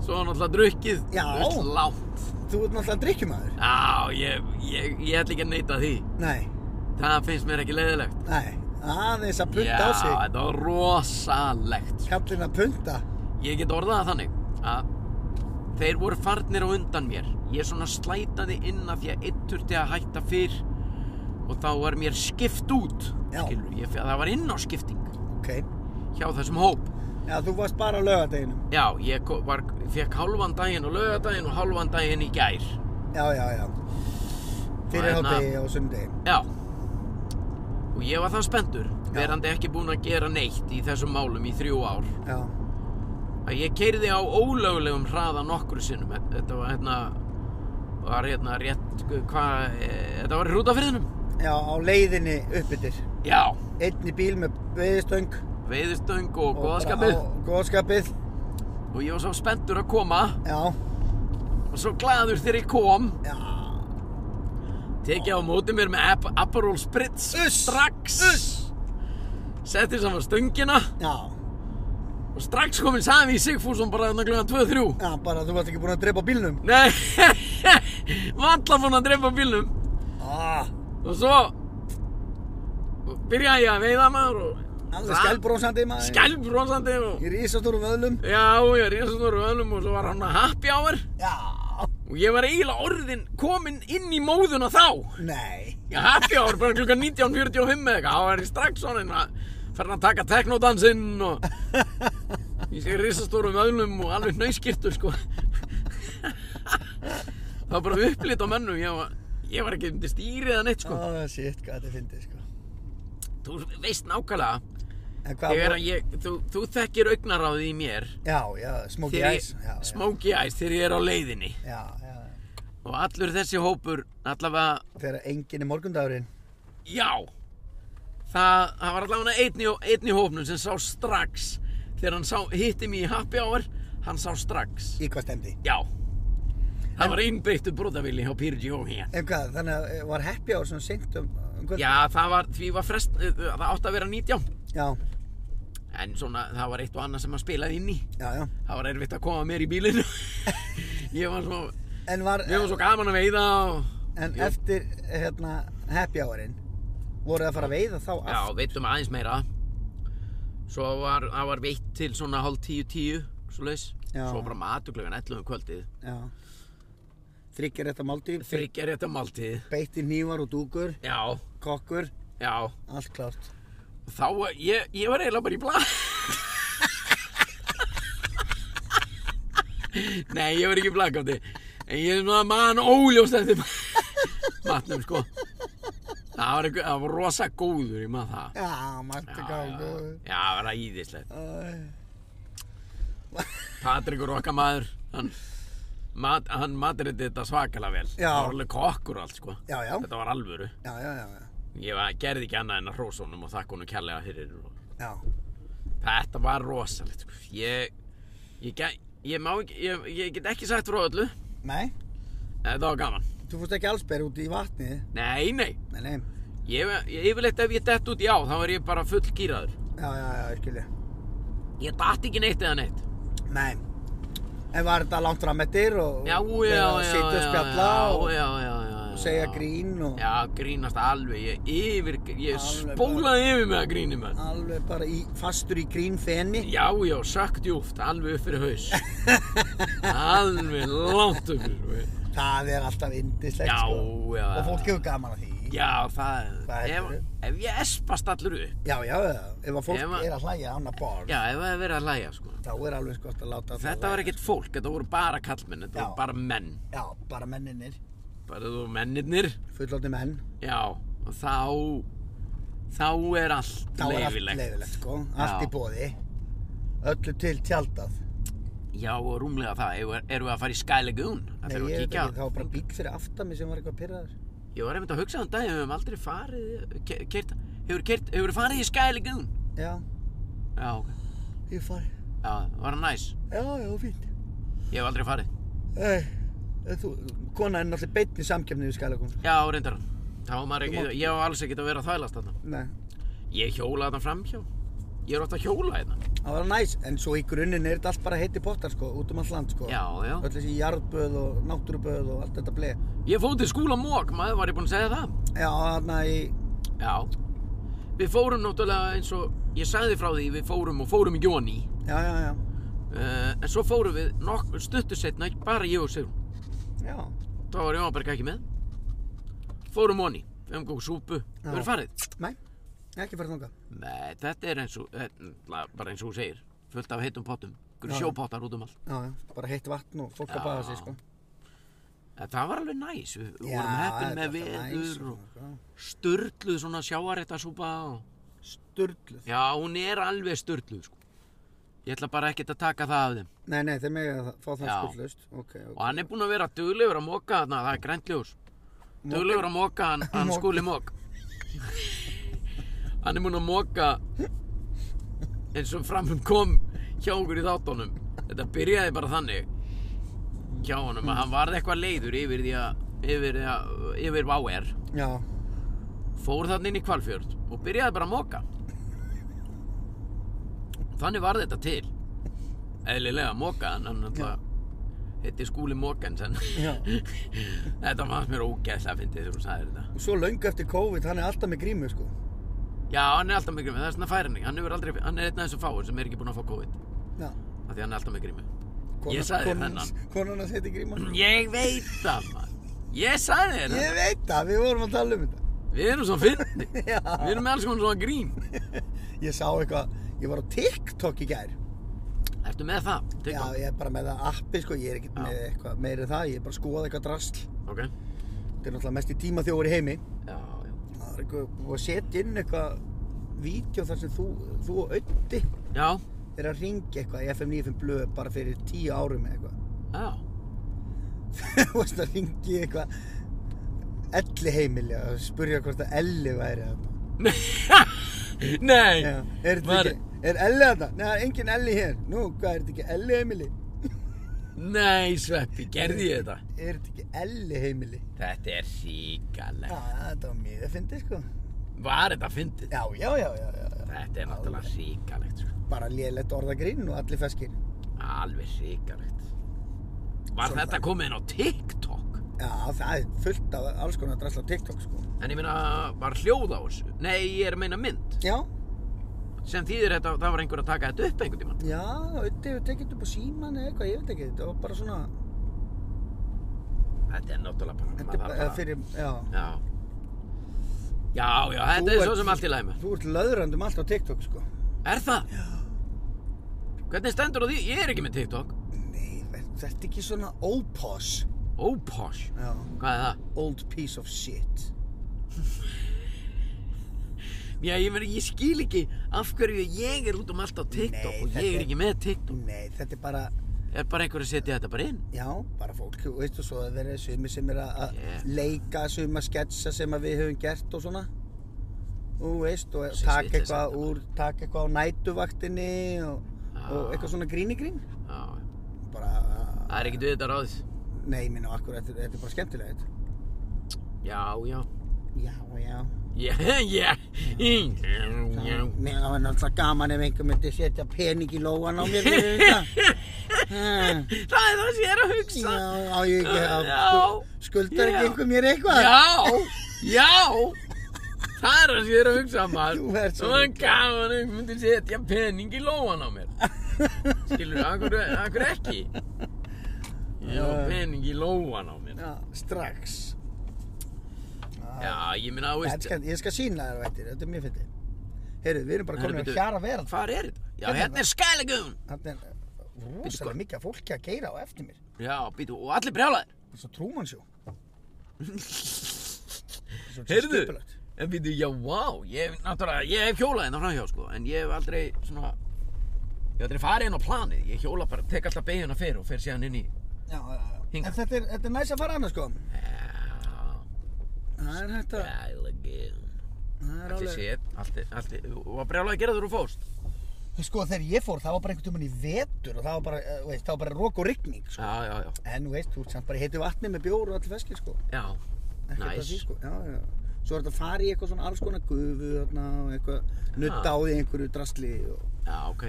A: svo var náttúrulega drukkið
B: Já.
A: öll langt
B: Þú ert náttúrulega drikkjumæður.
A: Já, ég, ég, ég ætla ekki að neyta því
B: Nei,
A: það finnst mér ekki leiðilegt
B: nei. Aðeins að
A: Já,
B: punta á sig.
A: þetta var rosalegt sko.
B: Kallinn að punta.
A: Ég get orðað það þannig að þeir voru farnir á undan mér. Ég svona slætaði inn af því að einn turti að hætta fyrr og þá var mér skipt út.
B: Já.
A: Skilur, ég, það var inn á skipting
B: Ok.
A: hjá þessum hóp.
B: Já, þú varst bara á laugardeginum.
A: Já, ég ko- var, fekk hálfan daginn og lögadaginn og hálfan daginn í gær.
B: Já, já, já. Fyrir
A: Hérna.
B: hátegi og sundegi.
A: Já. Og ég var það spendur, verandi ekki búinn að gera neitt í þessum málum í þrjú ár.
B: Já.
A: að ég keyrði á ólögulegum hraða nokkru sinnum Þetta- þetta var hérna var hérna rétt hvað e, þetta var í rútafriðinum
B: Já, á leiðinni uppbyttir.
A: já
B: Einn í bíl með veiðistöng.
A: veiðustöng og
B: og
A: góðaskapið
B: bara á- Góðskapið.
A: og ég var svo spenntur að koma
B: Já.
A: og svo gladur þegar ég kom
B: Já.
A: tekið á móti mér með Ap Aperol Spritz
B: Uss,
A: strax
B: uss.
A: setti saman stöngina
B: Já.
A: og strax komin sami í Sigfússon bara þarna klukkan 2-3
B: Já, bara þú varst ekki búin að drepa bílnum.
A: nei valla búin að drepa bílnum
B: Ah.
A: og svo byrjaði ég að veiða maður og
B: Alveg
A: Ah.
B: skælbrósandi maður.
A: skælbrosandi og
B: Í risastórum vöðlum.
A: já, ég er eins og stóru öðlum og svo var hann að happy hour
B: Já.
A: og ég var eiginlega orðin komin inn í móðuna þá
B: Nei.
A: já, happy hour, bara klukkan 19.45 eða eitthvað, þá er ég strax svona fyrir að taka teknodansinn og ég sé risastórum öðlum og alveg hnauskirtur sko það var bara upplýtt á mönnum ég var, ég var ekki undir stýri eða neitt sko
B: Ah, shit, hvað þetta er fyndið, sko.
A: þú veist nákvæmlega
B: En hvað
A: Þegar
B: voru-
A: ég, þú, þú þekkir augnaráðið í mér
B: Já, já, Smokey
A: þegar
B: Eyes. Já,
A: ég, Smokey Eyes þegar ég er á leiðinni
B: Já, já, já.
A: og allur þessi hópur allavega,
B: Þegar enginn er morgundagurinn.
A: já það, það var allavega einn í, einn í hópnum sem sá strax þegar hann sá, hitti mig í happy hour hann sá strax,
B: Í hvað stemdi?
A: já það var innbyttu brotavilli hjá Pyrgi og hér
B: En hvað, þannig að eh, var happy hour svona seint um... um kvöld?
A: já, það var, því var frest eh, það átti að vera 19
B: Já,
A: en svona, það var eitt og annað sem að spilaði inn í
B: já, já.
A: það var erfitt að koma mér í bílinu ég var svo
B: En var...
A: ég var svo gaman að veiða og
B: En
A: Jú.
B: eftir, hérna, happy hourinn, voru það að fara að veiða þá
A: já, veitum aðeins meira svo var, það var veitt til svona hálf tíu tíu svo leis,
B: Já.
A: svo bara matuglögan 11 um kvöldið
B: Já. Þryggir þetta máltíð,
A: þryggja rétt að máltíð
B: beitti nývar og dúkur,
A: já,
B: kokkur,
A: já,
B: allt klárt.
A: þá var- ég, ég var eiginlega bara í blað nei, ég var ekki í blaðkátti en ég er svona mann óljóst eftir matnum sko það var, einhver- það var rosa góður ég maður það
B: Já, margt að ganga.
A: já, það var æðislegt
B: Æ.
A: Patrikur okkar maður hann, mat, hann matreyti þetta svakalega vel
B: Já.
A: það var alveg kokkur og allt sko
B: Já, já,
A: þetta var alvöru
B: já, já, já, já.
A: ég var, gerði ekki annað en að hrósa honum og þakka honum kærlega fyrir og...
B: Já,
A: þetta var rosalegt sko. ég ég, ge- ég, má, ekki- ég, ég get ekki sagt frá öllu en
B: nei,
A: þetta var gaman
B: þú fórst ekki alls berið út í vatnið,
A: nei, nei
B: nei, nei,
A: ég, ég yfirleitt ef ég dett út í á þá er ég bara full gýraður
B: já, já, já, ég skilji,
A: ég datt ekki neitt eða neitt
B: nei, en var þetta langt ramettir og
A: já, já,
B: og
A: já,
B: verið að
A: já,
B: sitja og spjalla
A: já,
B: og
A: já, já, já, já,
B: segja
A: já.
B: grín og
A: Já, grínast alveg, ég yfir, ég
B: sko. Alveg
A: spólaði yfir með að gríni maður.
B: alveg bara í, fastur í grín fenni.
A: Já, já, sökkt júft, alveg upp fyrir haus. alveg langt upp fyrir haus.
B: Það er alltaf indislegt,
A: Já,
B: sko.
A: já.
B: Og fólk hefur gaman að því.
A: Já, það,
B: Hvað
A: ef,
B: heldurðu?
A: ef ég espast allur upp,
B: Já, já, já. Ef að fólk
A: Ef að-
B: er að hlæja án að borð,
A: já, ef það er verið að læja, sko.
B: þá er alveg sko að láta það
A: Þetta var ekkert fólk, þetta voru bara kallmenn, þetta
B: Já.
A: voru bara menn.
B: Já, bara menninir,
A: Bara þú mennirnir,
B: fullótti menn.
A: já, og þá, þá er allt
B: Þá er allt
A: leifilegt.
B: leifilegt, sko. Allt
A: Já.
B: í bóði. Öllu til tjaldað.
A: Já, og rúmlega það, eru erum við að fara í Sky Lagoon? Það
B: Nei,
A: þurfum
B: ég
A: við
B: veit
A: að
B: ekki,
A: kíkja á
B: það var bara bíl fyrir aftami sem var eitthvað pyrraður.
A: Ég var einmitt að hugsa þann dag, við höfum aldrei farið, ke- keyrt, hefur kert, hefur farið í Sky Lagoon?
B: Já,
A: Já, ok.
B: ég fari.
A: Já, var hann næs?
B: Já, já, fínt.
A: Ég hef aldrei farið.
B: Ei, eh, þú, kona er náttúrulega beitt í samkjöfni við skælagum.
A: Já, reyndar. Þá var maður
B: Þú
A: ekki, ég
B: mátt-
A: hef alls ekkert að vera að þvælast þarna.
B: Nei,
A: Ég hjóla þarna framhjá. Ég er oft að hjóla hérna.
B: það var næs, en svo í grunninn er þetta allt bara heiti pottar, sko, út um all land, sko.
A: Já, já.
B: Öll þessi jarðböð og náttúruböð og allt þetta bleið.
A: Ég fór til skúla mók, maður var ég búinn að segja það.
B: Já, þarna í,
A: Já. Við fórum náttúrulega eins og, ég sagði frá því, við fórum og fórum í Jóni.
B: já, já, já.
A: Uh, en svo fórum við nokkur stuttu setna, bara ég og Sigrun.
B: Já,
A: Þá var Jónberg ekki með. Fórum honni, við höfum góð súpu.
B: Já.
A: Við erum farið.
B: nei, ekki farið þangað.
A: Nei, þetta er eins og, eh, náttúrulega bara eins og þú segir, fullt af heitum pottum,
B: Já.
A: einhverju sjópottar út um allt.
B: Já, já, bara heitt vatn og fólk að
A: Já.
B: baða sig, sko.
A: En það var alveg næs, við við
B: Já,
A: vorum heppin
B: þetta
A: með
B: er alltaf næs sko.
A: veður og
B: svona,
A: störluð svona sjáaréttasúpa og...
B: sko. Sturluð.
A: Já, hún er alveg störluð, sko. Ég ætla bara ekkert að taka það af þeim.
B: Nei, nei, þeir mega að fá það
A: Já.
B: skuldlaust. Ok,
A: Og
B: ok.
A: hann er búinn að vera duglegur að móka þarna, það er grænt ljós. Duglegur að móka hann, hann
B: Moka.
A: skúli mók. hann er búinn að móka eins og framum kom hjá okkur í þáttunum. Þetta byrjaði bara þannig hjá honum að hann varð eitthvað leiður yfir því að, yfir, því að, yfir váer.
B: Já,
A: Fór þarna inn í Hvalfjörð og byrjaði bara að móka. Þannig var þetta til. Eðlilega móka, en hann alltaf heiti skúli mókensen.
B: já.
A: Þetta fannst mér ógeðslega að fyndið þegar hún sagði þetta.
B: Og svo löngu eftir COVID, hann er alltaf með grímu, sko.
A: Já, hann er alltaf með grími, það er svona færinning. Hann, hefur aldrei, hann er einn af þessum fáur sem er ekki búinn að fá COVID.
B: Já.
A: Af því hann er alltaf með grími. Ég sagði þér
B: konan, konan að setja gríma.
A: Ég veit það, maður. Ég sagði þér
B: Ég
A: það.
B: veit það, við vorum að tala um þetta.
A: Við erum svo fyndið.
B: Já.
A: Við erum með alls konar svona grín.
B: Ég sá eitthvað, ég var á TikTok í gær.
A: Ertu með það?
B: Já,
A: TikTok?
B: ég er bara með það appi, sko, ég er ekkert
A: Já.
B: með eitthvað meira en það, ég er bara að skoða eitthvað drasl.
A: Ok.
B: Þetta er náttúrulega mest í tíma þjófur í heimi.
A: Já, já.
B: Það er eitthvað, og setja inn eitthvað vídeo þar sem þú, þú og Ötti
A: Já,
B: er að ringja eitthvað í FM 95 blöð bara fyrir tíu árum eða eitthvað.
A: já,
B: Þú veist að ringi í eitthvað elli heimili og spurja hvort að elli væri að
A: nei,
B: Já, er, þetta
A: Var-
B: ekki, er elli að það? Nei, það er engin elli hér. Nú, hvað, er þetta ekki elli heimili?
A: nei Sveppi, gerði ég þetta?
B: Er þetta ekki elli heimili?
A: Þetta er
B: Já,
A: ríkalegt.
B: þetta var mjög að fyndi, sko.
A: Var þetta fyndið?
B: Já, já, já, já, já. já.
A: Þetta er náttúrulega ríkalegt, sko.
B: Bara lélegt orðagrín og allir feskir.
A: Alveg ríkalegt. Var
B: Svona
A: þetta
B: þannig.
A: komið inn á TikTok?
B: Já, það er fullt af alls konar drasla á TikTok, sko.
A: En ég meina, var hljóð á þessu? Nei, ég er að meina mynd.
B: Já,
A: Sem þýðir þetta, það var einhver að taka þetta upp einhvern tímann.
B: já, auðvitað hefur tekið þetta upp á síman eða eitthvað, ég veit ekki, þetta var bara svona,
A: Þetta er náttúrulega bara...
B: þetta
A: maður
B: er
A: þarf
B: bara, eða fyrir, já.
A: Já. Já, já, þetta
B: Þú
A: er svo
B: ert-
A: sem allt í læmi.
B: Þú ert löðrandum allt á TikTok, sko.
A: Er það? Já. Hvernig stendur á því? Ég er ekki með TikTok.
B: Nei, þetta er ekki svona opos.
A: Oh, posh.
B: Já.
A: Hvað er það?
B: Old piece of shit.
A: Já, ég, meni, ég skil ekki af hverju ég er út um allt á TikTok
B: Nei,
A: og
B: þetta
A: ég er
B: er-
A: ekki með TikTok.
B: Nei, þetta er bara,
A: Er bara einhver að setja þetta bara inn?
B: já, bara fólk, þú veist, og svo það verið sumi sem er að að
A: Yeah.
B: leika, sumi að sketsa sem að við höfum gert og svona. Þú veist, og
A: Þessi
B: taka
A: vitleysa
B: eitthvað
A: þetta
B: úr, taka eitthvað á nætuvaktinni og,
A: Já.
B: og eitthvað svona grínigrín.
A: Já,
B: Bara,
A: það er ekkert við þetta ráðið.
B: nei, minn og akkur, þetta, er- þetta er bara skemmtilegt.
A: Já, já.
B: Já, já.
A: Já, já. Já, já.
B: Mér það var náttúrulega gaman ef einhver myndi setja pening í lóan á mér fyrir þetta. Ha.
A: Það er það sem ég er að hugsa.
B: Já, á ég ekki að
A: Já.
B: skuldar
A: Já.
B: ekki einhver mér eitthvað?
A: Já, já. Það er það sem ég er að hugsa, maður.
B: Þú ert svo
A: Það er
B: ruglaður.
A: gaman að ég myndi setja pening í lóan á mér. Skilur, akkur, akkur ekki? Já,
B: Já.
A: pening í lóan á mér.
B: Já, strax.
A: Já, ég minna, þú
B: Ég
A: veist,
B: skal, ég skal sína þér á eftir, þetta er mjög fyndið. Heyrðu, við erum bara
A: Heyrðu,
B: komin að
A: bíddu.
B: hjara verð.
A: hvað er þetta? Já,
B: Hérna.
A: hérna er skælegun.
B: Þannig er
A: sko.
B: rosalega mikið af fólki að geyra á eftir mér.
A: Já, býtu, og allir brjálaðir.
B: Það er svo trúmannsjó.
A: Heyrðu, en býtu, já, vá, ég hef náttúrulega, ég hef hjólað hérna framhjá, sko, en ég hef aldrei, svona, ég hef aldrei farið inn á planið, ég hjóla bara, tek alltaf beiguna fyrir og fer síðan inn í,
B: Já, já, já.
A: Hingað.
B: En þetta er, þetta er næs að fara annars sko.
A: já,
B: Það er hægt að,
A: skælegun.
B: það er
A: Allt í
B: alveg.
A: séð, allt í, allt í, og að brjálaði að gera þú fórst.
B: Sko þegar ég fór það var bara einhvern tímann í vetur og það var bara, eh, þú veist, það var bara rók og rigning sko.
A: Já, já, já,
B: En þú veist, þú ert samt bara í heitu vatni með bjór og allir feskir sko.
A: já,
B: Ekkert að
A: Næs.
B: því, sko. Já, já. Svo er þetta að fara í eitthvað svona alls konar gufu þarna og eitthvað nutta á því einhverju drasli og,
A: já, ok,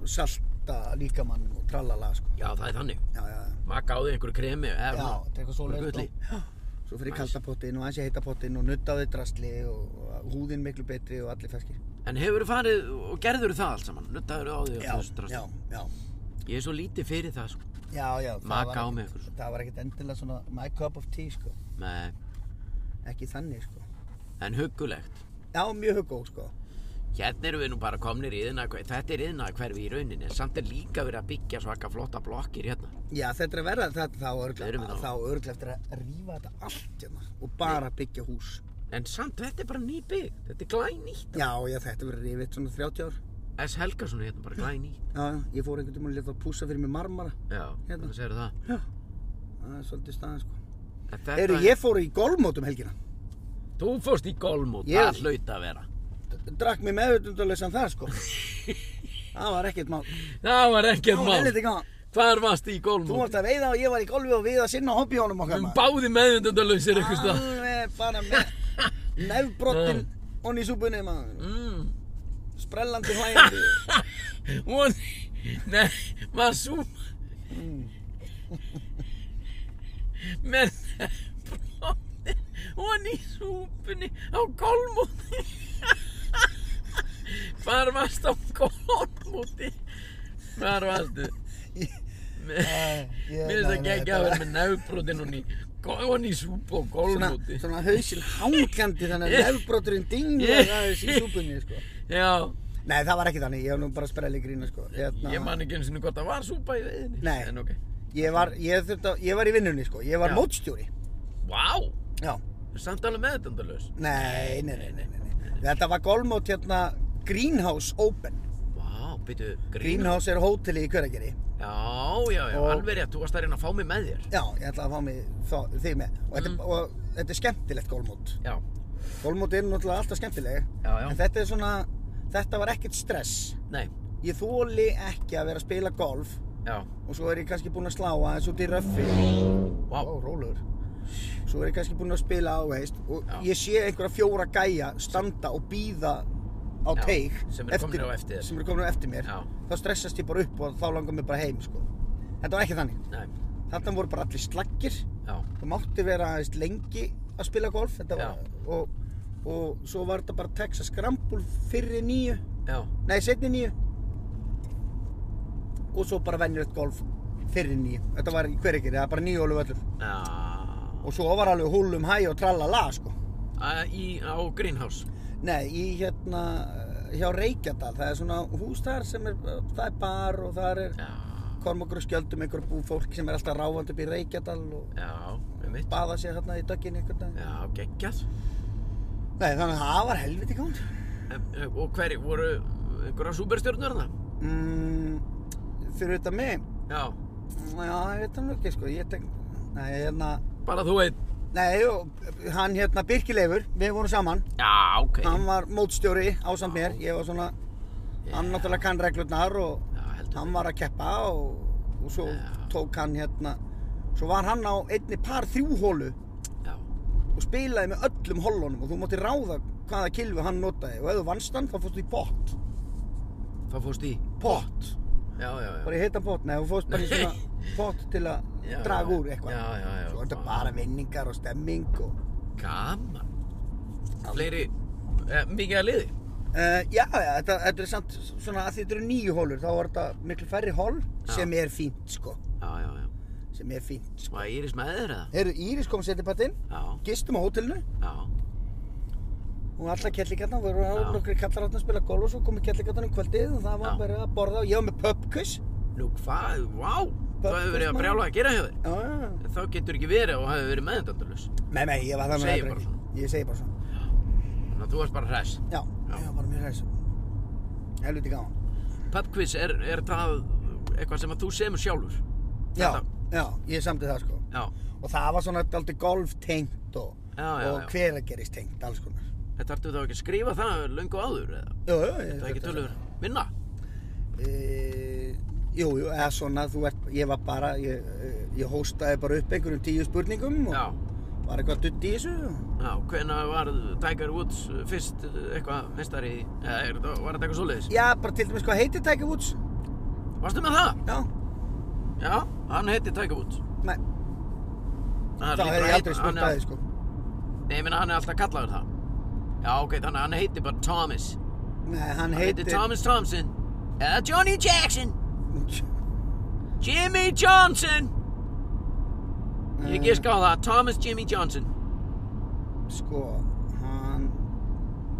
B: og salta líkamann og tralala sko.
A: já, það er þannig.
B: Já, já, já.
A: Maka á því einhverju kremi, eða,
B: Já,
A: svona.
B: þetta er eitthvað svo
A: Með gulli.
B: sko. Svo fyrir
A: Næs.
B: nice. kaldapottinn og aðeins í heitapottin og nutta á því drasli og, og húðin miklu betri og allir feskir.
A: En hefur farið og gerður það allt saman, nuttaður á því og
B: Já,
A: þú strast.
B: já, já.
A: Ég er svo lítið fyrir það, sko.
B: Já, já. það
A: Maka
B: var
A: á
B: ekkert-
A: mig eitthvað svona.
B: Það var ekkert endilega svona my cup of tea sko.
A: Nei,
B: Ekki þannig sko.
A: en huggulegt.
B: Já, mjög hugó sko.
A: Hérna erum við nú bara komnir í yðna, þetta er yðna hverfi í rauninni, samt er líka verið að byggja svaka flotta blokkir hérna.
B: Já, þetta er að verða þetta þá
A: Erum við
B: örglega,
A: þá?
B: þá örglega eftir að rífa þetta allt hérna og bara byggja hús.
A: En samt, þetta er bara ný bygg, þetta er glænýtt.
B: Já, já, þetta verður rífið svona 30 ár.
A: S. Helgason er hérna bara glænýtt.
B: Já, já, ég fór einhvern tímann að leta að púsa fyrir mig marmara.
A: Já,
B: Hérna.
A: hérna segir það.
B: Já. Það er svolítið staðan, sko.
A: En Þetta,
B: Eru, ég fór í golfmót um helgina.
A: Þú fórst í golfmót,
B: Ég-
A: það hlaut að vera.
B: D- Drakk mér meðutundarleysan það, sko. það var ekkert mál.
A: Það var ekkert
B: Það var
A: mál.
B: helviti gaman.
A: Hvar varst í
B: Þú
A: golfmót?
B: varst að veiða og ég var í golfi og við að sinna hobbyjónum okkar
A: Um
B: maður.
A: báði meðvindundalausir eitthvað stað.
B: Alveg bara með nefbrottin onni í súpunni maður.
A: Mm.
B: Sprellandi hlægjandi.
A: Von... Nei, maður sú... Menn... Hún í súpunni á golfmóti. Hvar varst á golfmóti? Hvar varstu? Eh, Mér
B: Æ, ég-
A: finnst
B: nei,
A: það
B: nei,
A: geggja að
B: bara-
A: vera með nefbrotin hún í, hún í súpu á
B: svona,
A: golfmóti.
B: svona hausinn hangandi þannig
A: Ég-
B: að nefbroturinn dinglar
A: Ég-
B: aðeins í súpunni sko.
A: Já,
B: Nei, það var ekki þannig, ég var nú bara að sprella í grína sko. Hérna,
A: ég man ekki eins og hvort það var súpa í veðinni.
B: Nei.
A: En ok.
B: ég, var, ég, þurfti, að- ég var í vinnunni sko, ég var
A: Já.
B: mótstjóri
A: Vá,
B: Já,
A: samt alveg meðdöndalaus.
B: nei, nei, nei, nei, nei. Þetta var golfmót hérna Greenhouse Open
A: Vá, byrju, grína.
B: Greenhouse er hóteli í Hveragerði
A: Já, já, já,
B: Og-
A: alveg rétt, þú varst að reyna að fá mig með þér.
B: Já, ég ætla að fá mig þá, þig með og þetta,
A: Mm.
B: og þetta er skemmtilegt gólmót
A: Já,
B: Gólmót er náttúrulega alltaf skemmtileg
A: já, já,
B: en þetta er svona, þetta var ekkert stress
A: nei,
B: Ég þóli ekki að vera að spila golf
A: já,
B: og svo er ég kannski búinn að slá aðeins út í röffi
A: vá,
B: Ó, rólegur Svo er ég kannski búinn að spila á, veist og
A: Já.
B: ég sé einhverja fjóra gæja standa og býða á
A: Já,
B: teig
A: sem eru komnir á eftir þér.
B: sem eru komin á eftir mér
A: Já.
B: þá stressast ég bara upp og þá langar mér bara heim sko. þetta var ekki þannig
A: nei,
B: þarna voru bara allir slaggir
A: já,
B: þú mátti vera aðeins lengi að spila golf þetta var, og, og svo var þetta bara Texas Scramble fyrir nýju
A: já,
B: nei, setni nýju og svo bara venjulegt golf fyrir nýju þetta var hver ekki, það var bara nýju alveg öllur
A: já,
B: og svo var alveg húlum hæ og tralala sko.
A: Að- í, á Greenhouse,
B: Nei, í hérna eh, hjá Reykjadal, það er svona hús þar sem er, eh, það er bar og þar er
A: já,
B: kormokur og skjöldum einhver bú fólk sem er alltaf ráfandi upp í Reykjadal og
A: já, með mitt,
B: baða sér hérna í dögginni einhvern dag.
A: já, geggjað.
B: Nei, þannig að það var helviti góð.
A: En, eh, Og hverju, voru einhverja superstjörnur það?
B: Mm, fyrir þetta mig,
A: Já,
B: já, ég veit það nú ekki sko, ég tek, nei, hérna,
A: bara þú einn.
B: nei, og, hann hérna Birkileifur, við vorum saman,
A: Já, ok.
B: hann var mótstjóri ásamt mér, ég var svona, hann náttúrulega kann reglurnar og
A: Já, heldur.
B: hann var að keppa og, og svo
A: Já.
B: tók hann hérna svo var hann á einni par þrjúhólu
A: Já,
B: og spilaði með öllum hólunum og þú mátti ráða hvaða kilfu hann notaði og ef þú vannst hann þá fórstu í pott
A: það fórst í.
B: pott,
A: Já, já, já.
B: bara í heitan pott nei, þú fórst bara í
A: Nei.
B: svona pott til að
A: Já,
B: draga
A: já.
B: úr eitthvað
A: Já, já, já.
B: svo
A: Vá.
B: er þetta bara vinningar og stemming og
A: Gaman. Fleiri, eh, mikið að liði.
B: Uh, já, já, þetta, þetta er samt svona að því þetta eru nýju hólur, þá var þetta miklu færri hól
A: Já.
B: sem er fínt, sko,
A: Já, já, já.
B: sem er fínt, sko.
A: Var Íris með þér eða?
B: Heyrðu, Íris kom setjapattinn,
A: Já,
B: gistum á hótelinu,
A: já,
B: og alla kellikarnar voru á
A: Já.
B: nokkri kallar þarna að spila golf og svo komu kellikarnar um kvöldið og það var
A: Já.
B: bara að borða og ég var með pubquiz
A: nú hvað, vá, það
B: Börn
A: hefur verið að
B: Kristmann.
A: brjála að gera hjá þér.
B: Já, já, já.
A: En þá getur ekki verið og hefur verið meðendöndalus.
B: Nei, nei, ég var þannig
A: Segir
B: heldur
A: bara
B: ekki.
A: svona.
B: Ég segi bara svona
A: Þannig að þú varst bara hress.
B: Já,
A: Já.
B: ég var bara mjög hræs Helviti gaman
A: Pubquiz, er, er það eitthvað sem að þú semur sjálfur?
B: Já,
A: Þetta-
B: já, ég samti það sko
A: Já,
B: Og það var svona alltaf golf tengt og,
A: Já, já, já.
B: og hveragerist tengt, alls konar
A: þetta þarftu þá ekki að skrifa það löngu áður eða?
B: Jú, jú, ég
A: Það er ekki
B: þurfti að-
A: tölur vinna?
B: Eh, Jú, jú, eða svona, þú ert, ég var bara, ég, eh, ég hóstaði bara upp einhverjum tíu spurningum og
A: Já,
B: var eitthvað dutt í þessu og
A: já, hvena var Tiger Woods fyrst eitthvað mestari, í- eða er, þetta- var þetta eitthvað svoleiðis?
B: Já, bara til dæmis hvað heitir Tiger Woods?
A: Varstu með það?
B: Já,
A: Já, hann heiti Tiger Woods.
B: nei,
A: Það
B: þá hefði ég aldrei spurt að þið sko.
A: Nei, ég meina hann er alltaf kallaður það. Já, ok, þannig að hann heiti bara Thomas.
B: Nei, hann
A: Hann heiti
B: heitir...
A: Thomas Thompson. Eða Johnny Jackson. Jimmy Johnson. Ég giska á það, Thomas Jimmy Johnson.
B: Sko, hann...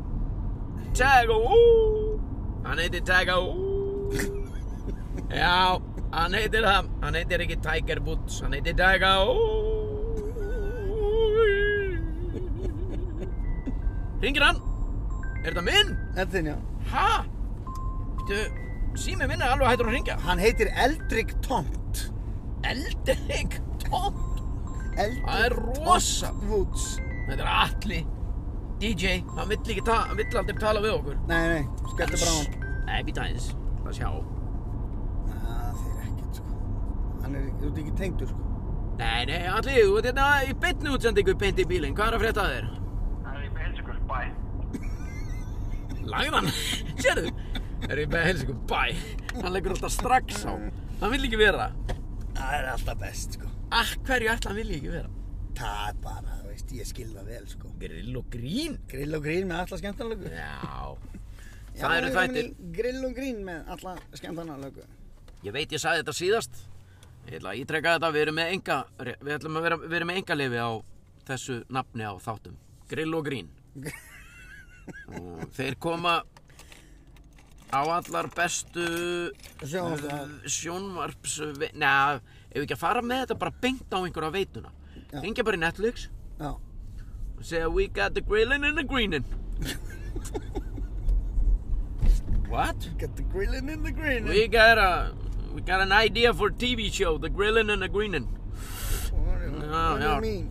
A: Tiger Woo. Hann heitir Tiger Woo. Já, hann heitir það. Hann heitir ekki Tiger Woods, hann heitir Tiger Woo. Ringir hann? Er þetta minn?
B: Þetta þinn, já.
A: Hæ? Þú, sími minn er alveg hættur að ringja.
B: Hann heitir Eldrick Tomt.
A: Eldrik, tómt.
B: Eldrick
A: Það er rosa.
B: Tomt Woods.
A: Þetta er Atli, DJ, hann vill ekki ta hann vill aldrei tala við okkur.
B: Nei, nei, skelltu bara á hann.
A: Nei, býta eins, það sjá.
B: Næ, þeir ekkert, sko. Hann er, þú ert ekki tengdur, sko.
A: Nei, nei, Atli, þú ert hérna í beinni útsendingu beint í bílinn, hvað er að frétta af þér?
C: Það er í Pensacola bæ.
A: Lagðan, sérðu? Er ég með helsingum, bæ. Hann leggur alltaf strax á. Hann vill ekki vera.
B: Það er alltaf best, sko.
A: Ah, hverju ætla hann vilja ekki vera?
B: Það er bara, þú veist, ég skil það vel, sko.
A: Grill og grín.
B: Grill og grín með alla skemmtanlöku.
A: Já.
B: Já,
A: Það eru
B: við erum
A: þættir.
B: í Grill og grín með alla skemmtanlöku.
A: Ég veit ég sagði þetta síðast Ég ætla að ítreka þetta, við erum með enga Við ætlum að vera, við erum með enga á þessu nafni á þáttum Grill og grín og Þeir koma á allar bestu eh,
B: Sjónvarps-
A: sjónvarps Nei, ef við ekki að fara með þetta bara beint á einhverja veituna
B: Já.
A: Hengja bara í Netflix
B: Já.
A: og segja We got the grillin' and the greenin' What?
B: Got the grillin' in the grillin'
A: We got a we got an idea for TV show, The Grillin' and the Greenin'.
B: What, do- what do you mean?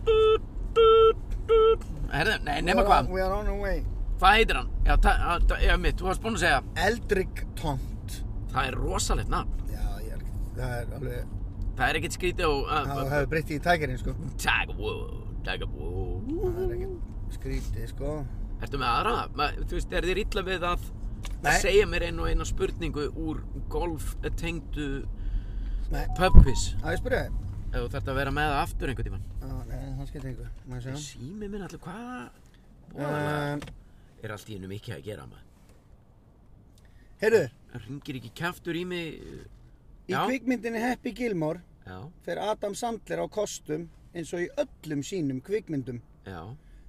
A: Herðu, nei,
B: We
A: nema
B: are on-
A: hvað,
B: We are on our way
A: hvað heitir hann? Já, ta- á- ta- já, mitt, þú varst búinn að segja,
B: Eldrick Tont
A: það er rosalegt nafn.
B: Já, ég er Það er alveg
A: Það er ekkert skrítið og...
B: Það
A: Uh,
B: hefur breytt í tækirinn sko
A: Tag woo, tag woo.
B: Það er ekkert skrítið sko
A: Ertu með aðra? Ma, þú veist, er þér illa við að, að
B: Nei.
A: segja mér einu og eina spurningu úr golftengdu
B: Nei,
A: pubquiz?
B: að ég spyrja þig
A: Ef þú þarft að vera með það aftur einhvern tímann.
B: Já, Nei, það skiptir ykkur Má ég sjá
A: Sími minn allir hvað?
B: Um,
A: er allt í hennu mikið að gera maður.
B: Heyrðu,
A: Það ringir ekki kæftur í mig. uh,
B: í
A: Já.
B: kvikmyndinni Happy Gilmore
A: Já,
B: fer Adam Sandler á kostum eins og í öllum sínum kvikmyndum.
A: já,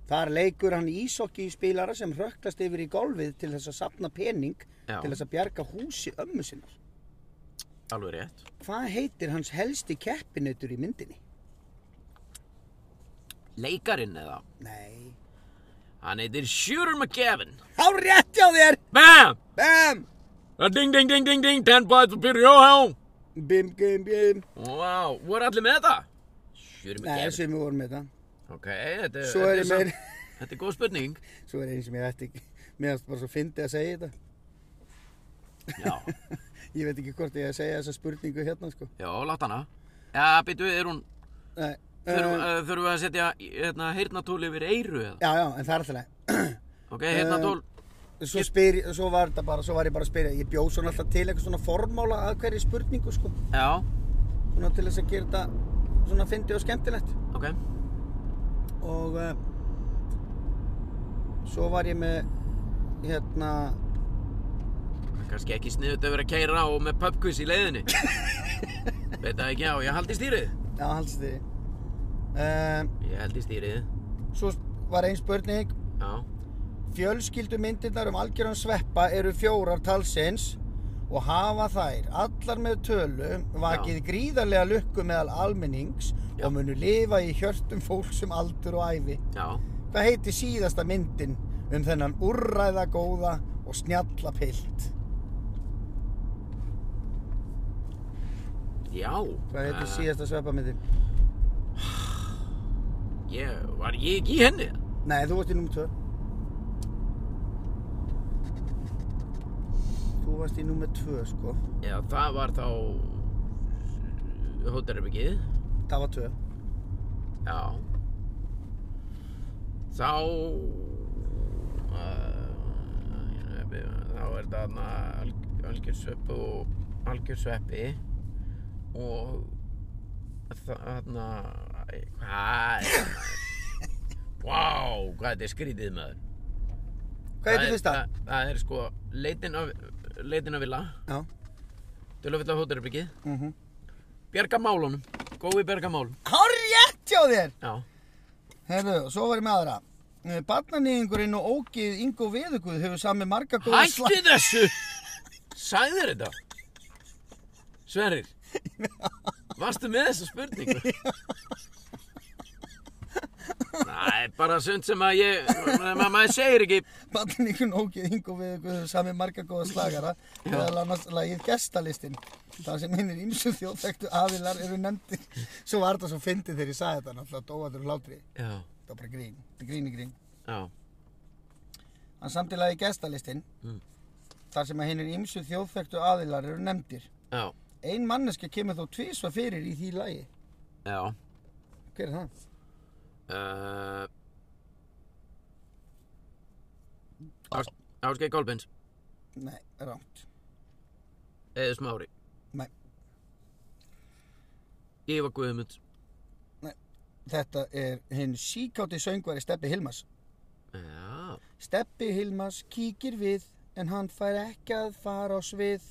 B: Þar leikur hann ísokki í spilara sem röklast yfir í golfið til þess að sapna pening
A: Já.
B: til þess að bjarga húsi ömmu sinnar.
A: alveg rétt.
B: Hvað heitir hans helsti keppinutur í myndinni?
A: Leikarinn eða?
B: Nei.
A: Hann heitir Shooter McGavin.
B: Há rétt hjá þér!
A: Bam!
B: Bam!
A: Uh, Ding, ding, ding, ding, ding, 10 bites for Peter Johan.
B: Bim, bim, bim.
A: Vá, voru allir með þetta? Shooter
B: Nei,
A: McGavin.
B: sem við vorum með þetta.
A: Ok, þetta
B: Svo
A: þetta
B: er ég
A: samt-
B: meir-
A: Þetta er góð spurning.
B: Svo er einn sem ég ætti ekki, mér varst bara svo fyndið að segja þetta.
A: Já,
B: Ég veit ekki hvort ég að segja þessa spurningu hérna, sko.
A: já, látt hana. Já, býtu, er hún,
B: Nei.
A: þurfum,
B: uh,
A: uh, þurfum við að setja hérna, heyrnatól yfir eyru eða?
B: já, já, en það er alltaf leið. Eh.
A: Ok, heyrnatól,
B: svo, spyr, svo, var þetta bara, svo var ég bara að spyrja ég bjóð svona alltaf til eitthvað svona formála að hverju spurningu sko
A: já,
B: svona til þess að gera þetta svona fyndið og skemmtilegt
A: ok.
B: og uh, svo var ég með hérna
A: Kannski ekki sniðut að vera að keira og með pubquiz í leiðinni. Veit það ekki, já, ég haldi stýrið.
B: já, halds þið um,
A: Ég held í stýrið,
B: svo var ein spurning
A: já.
B: fjölskyldu myndirnar um algjöran sveppa eru fjórar talsins og hafa þær allar með tölu vakið gríðarlega lukku meðal almennings
A: Já.
B: og munu lifa í hjörtum fólks um aldur og ævi
A: Já,
B: Hvað heiti síðasta myndin um þennan úrræða góða og snjalla pilt?
A: já.
B: Hvað heiti
A: Eh,
B: síðasta sveppamyndin?
A: Ég, var ég ekki í henni?
B: Nei, þú varst í nummer 2. Þú varst í nummer 2, sko.
A: Já, það var þá hóttarherbyggið.
B: Það var 2.
A: Já. Þá... Uh, þá er það þarna alg- algjör sveppu og algjör sveppi og þarna... æ, Hvað er það? Vá, hvað þetta er skrítið maður.
B: Hvað
A: Það
B: heiti
A: er-
B: fyrsta?
A: Það, það er sko leitin af, leitin af vila,
B: Já.
A: dölufilla hóttarherbyggið,
B: Mm
A: bjarga málunum, gói bjarga málunum.
B: Hár rétt hjá þér!
A: Já,
B: Herðu, svo var ég með aðra. Barnanýðingurinn og ógið Ingo Veðuguð hefur samið marga góða
A: Hætti þessu! Sæði þér þetta? Sverrir, varstu með þessa spurningu? Næ, bara sund sem að ég, ma- maður segir ekki
B: Barnaníkun ógið Ingo við Guður sami marga góða slagara meðal annars lagið gestalistinn þar sem hinnir ýmsu þjóðþektu aðilar eru nefndir svo var þetta svo fyndið þegar ég sagði þetta náttúrulega dóaður hlátri
A: Já,
B: það var bara grín, þetta er grín í grín
A: já,
B: hann samt í lagið gestalistinn
A: Mm.
B: þar sem hinnir ýmsu þjóðþektu aðilar eru nefndir
A: já,
B: ein manneska kemur þó tvísva fyrir í því lagi
A: já
B: hver er það?
A: uh, Ás, Áskei Kolbins,
B: Nei, rámt
A: Eður Smári
B: Nei.
A: Ívar Guðmunds
B: Þetta er hinn síkáti söngvari Steppi Hilmas
A: Já,
B: Steppi Hilmas kíkir við en hann fær ekki að fara á svið.